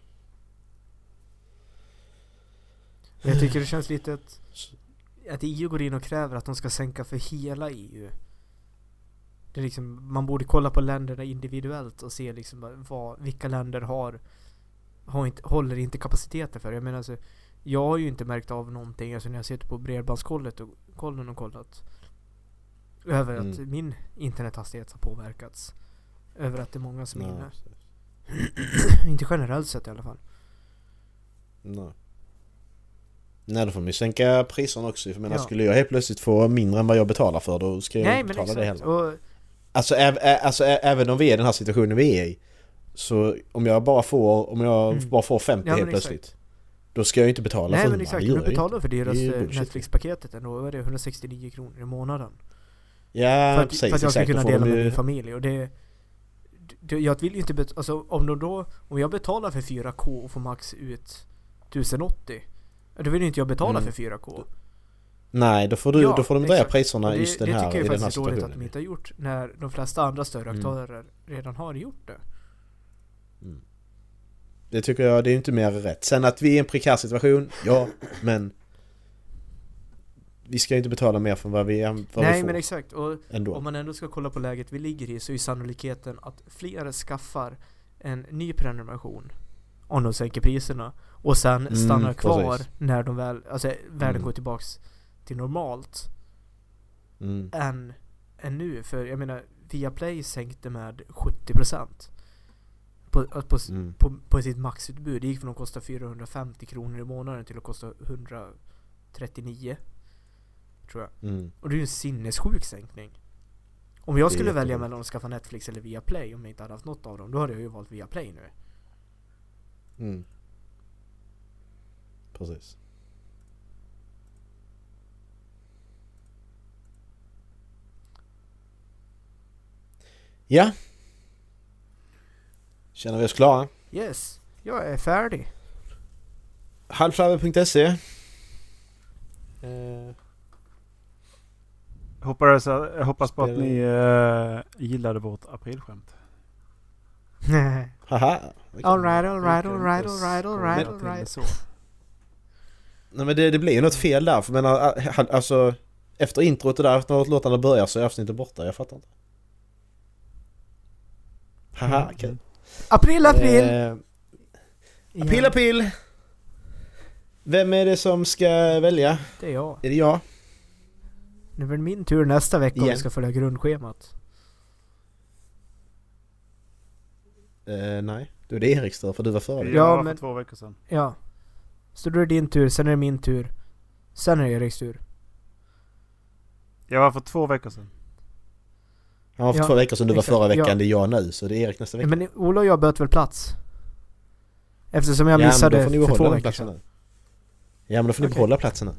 S1: Men jag tycker det känns lite att,
S3: Så-
S1: att EU går in och kräver att de ska sänka för hela EU. Det är liksom, man borde kolla på länderna individuellt och se liksom vad- vad, vilka länder har, har inte, håller inte kapaciteten för. Jag menar alltså, jag har ju inte märkt av någonting alltså när jag sitter på bredbandskollet och, kollen och kollat. Över att
S3: Mm.
S1: min internethastighet har påverkats. Över att det är många som är
S3: Nej,
S1: inne.
S3: precis.
S1: Inte generellt sett i alla fall.
S3: Nej. Nej, då får man ju sänka priserna också. För jag menar,
S1: Ja.
S3: skulle jag helt plötsligt få mindre än vad jag betalar för då ska jag
S1: Nej
S3: inte
S1: men
S3: betala det
S1: exakt.
S3: heller.
S1: Och,
S3: Alltså, äv, ä, alltså ä, även om vi är i den här situationen vi är i. Så om jag bara får, om jag
S1: Mm.
S3: bara får 50
S1: Ja, men
S3: helt
S1: exakt.
S3: plötsligt. Då ska jag ju inte betala
S1: Nej
S3: för
S1: men
S3: den,
S1: exakt,
S3: det gör
S1: du
S3: jag ju.
S1: betalar för det
S3: Det är ju
S1: dyraste
S3: bullshit.
S1: Netflix-paketet ändå, vad är det? 169 kronor i månaden?
S3: Ja,
S1: för, att,
S3: precis.
S1: för att jag ska
S3: exakt. Då
S1: kunna
S3: får
S1: dela
S3: de
S1: med
S3: ju-
S1: min familj och det... det jag vill ju inte betala, alltså om de då... Om jag betalar för 4K och får max ut 1080 Då vill ju inte jag betala för
S3: Mm.
S1: 4K
S3: Nej, då får, du,
S1: Ja,
S3: då får de dra
S1: exakt.
S3: priserna
S1: Och
S3: just den
S1: det
S3: här,
S1: tycker jag
S3: i den här
S1: faktiskt är dåligt att de
S3: situationen.
S1: inte har gjort när de flesta andra större
S3: Mm.
S1: aktörer redan har gjort det
S3: Det tycker jag, det är ju inte mer rätt. Sen att vi är i en prekär situation, ja, men... Vi ska ju inte betala mer för vad vi, vad vi
S1: Nej
S3: får
S1: men exakt, och
S3: ändå.
S1: om man ändå ska kolla på läget vi ligger i så är ju sannolikheten att fler skaffar en ny prenumeration om de sänker priserna och sen
S3: Mm,
S1: stannar kvar
S3: precis.
S1: när de väl, alltså världen
S3: Mm.
S1: går tillbaks till normalt
S3: Mm.
S1: än, än nu. För jag menar, Viaplay sänkte med 70% på, på,
S3: Mm.
S1: på, på sitt maxutbud. Det gick från att kosta 450 kronor i månaden till att kosta 139. Tror jag.
S3: Mm.
S1: Och det är ju en sinnessjuk sänkning. Om jag
S3: Det är
S1: skulle välja
S3: jättemycket.
S1: mellan att skaffa Netflix eller Viaplay om jag inte hade haft något av dem, då hade jag ju valt Viaplay nu.
S3: Mm. Precis. Ja. Känner vi oss klara?
S1: Yes, jag är färdig.
S3: Halvflabbe.se eh,
S1: Eh.
S2: Hoppas, jag hoppas på att
S3: Spelar-
S2: ni eh, gillade vårt aprilskämt.
S3: Haha. Vilken-
S1: alright, alright, alright, alright, alright,
S2: Skoja till det
S1: alright.
S2: så.
S3: Nej men det, det blir ju något fel där. För jag menar, han- alltså. Efter introt och där, efter att låtarna börjar så är avsnittet borta. Jag fattar inte.
S1: Mm.
S3: Haha, kul.
S1: April, april!
S3: Eh,
S1: Ja,
S3: Pilla pill! Vem är det som ska välja?
S1: det är jag.
S3: Är det jag?
S1: Nu är det min tur nästa vecka om
S3: Igen.
S1: jag ska följa grundschemat.
S3: Eh, nej, då är det Eriks tur för du var före.
S1: Ja,
S2: Ja,
S1: men-
S2: för två veckor sedan.
S1: Ja. Så då är det din tur, sen är det min tur. Sen är det Eriks tur.
S2: Jag var för två veckor sedan.
S3: Han var för
S1: Ja,
S3: två veckor sedan, du var
S1: exakt.
S3: förra veckan,
S1: Ja.
S3: det är jag nu. Så det är Erik nästa
S1: Ja,
S3: vecka.
S1: men Ola och jag böt väl plats? Eftersom jag missade för två veckor sedan.
S3: nu. Ja men då får ni
S1: Okej.
S3: behålla platsen nu.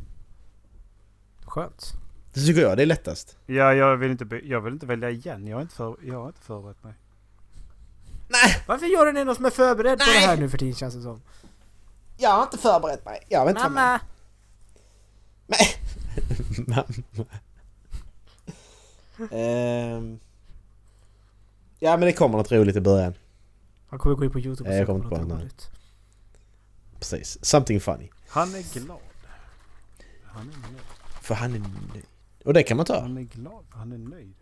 S1: Skönt.
S3: Det tycker jag, det är lättast.
S2: Ja, jag vill inte, by- jag vill inte välja igen. Jag har inte, för, jag har inte förberett mig.
S1: Varför gör ni någon som är förberedd på det här nu för tiden känns det som?
S3: Jag har inte förberett mig. Jag vet
S1: Mamma!
S3: Ehm. Ja men det kommer något roligt i början.
S1: Han kommer gå in på youtube och
S3: Nej, jag
S1: söka
S3: kommer
S1: något
S3: inte på den här.
S1: roligt.
S3: Precis. Something funny.
S2: Han är glad. Han är nöjd.
S3: För han är nöjd. Och det kan man ta.
S2: Han är glad. Han är nöjd.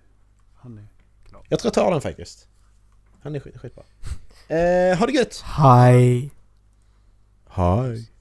S2: Han är...
S3: Jag tror jag tar den faktiskt. Ehm, Han är skit, skitbra. Eh, ha det gött!
S1: Hej!
S3: Hej!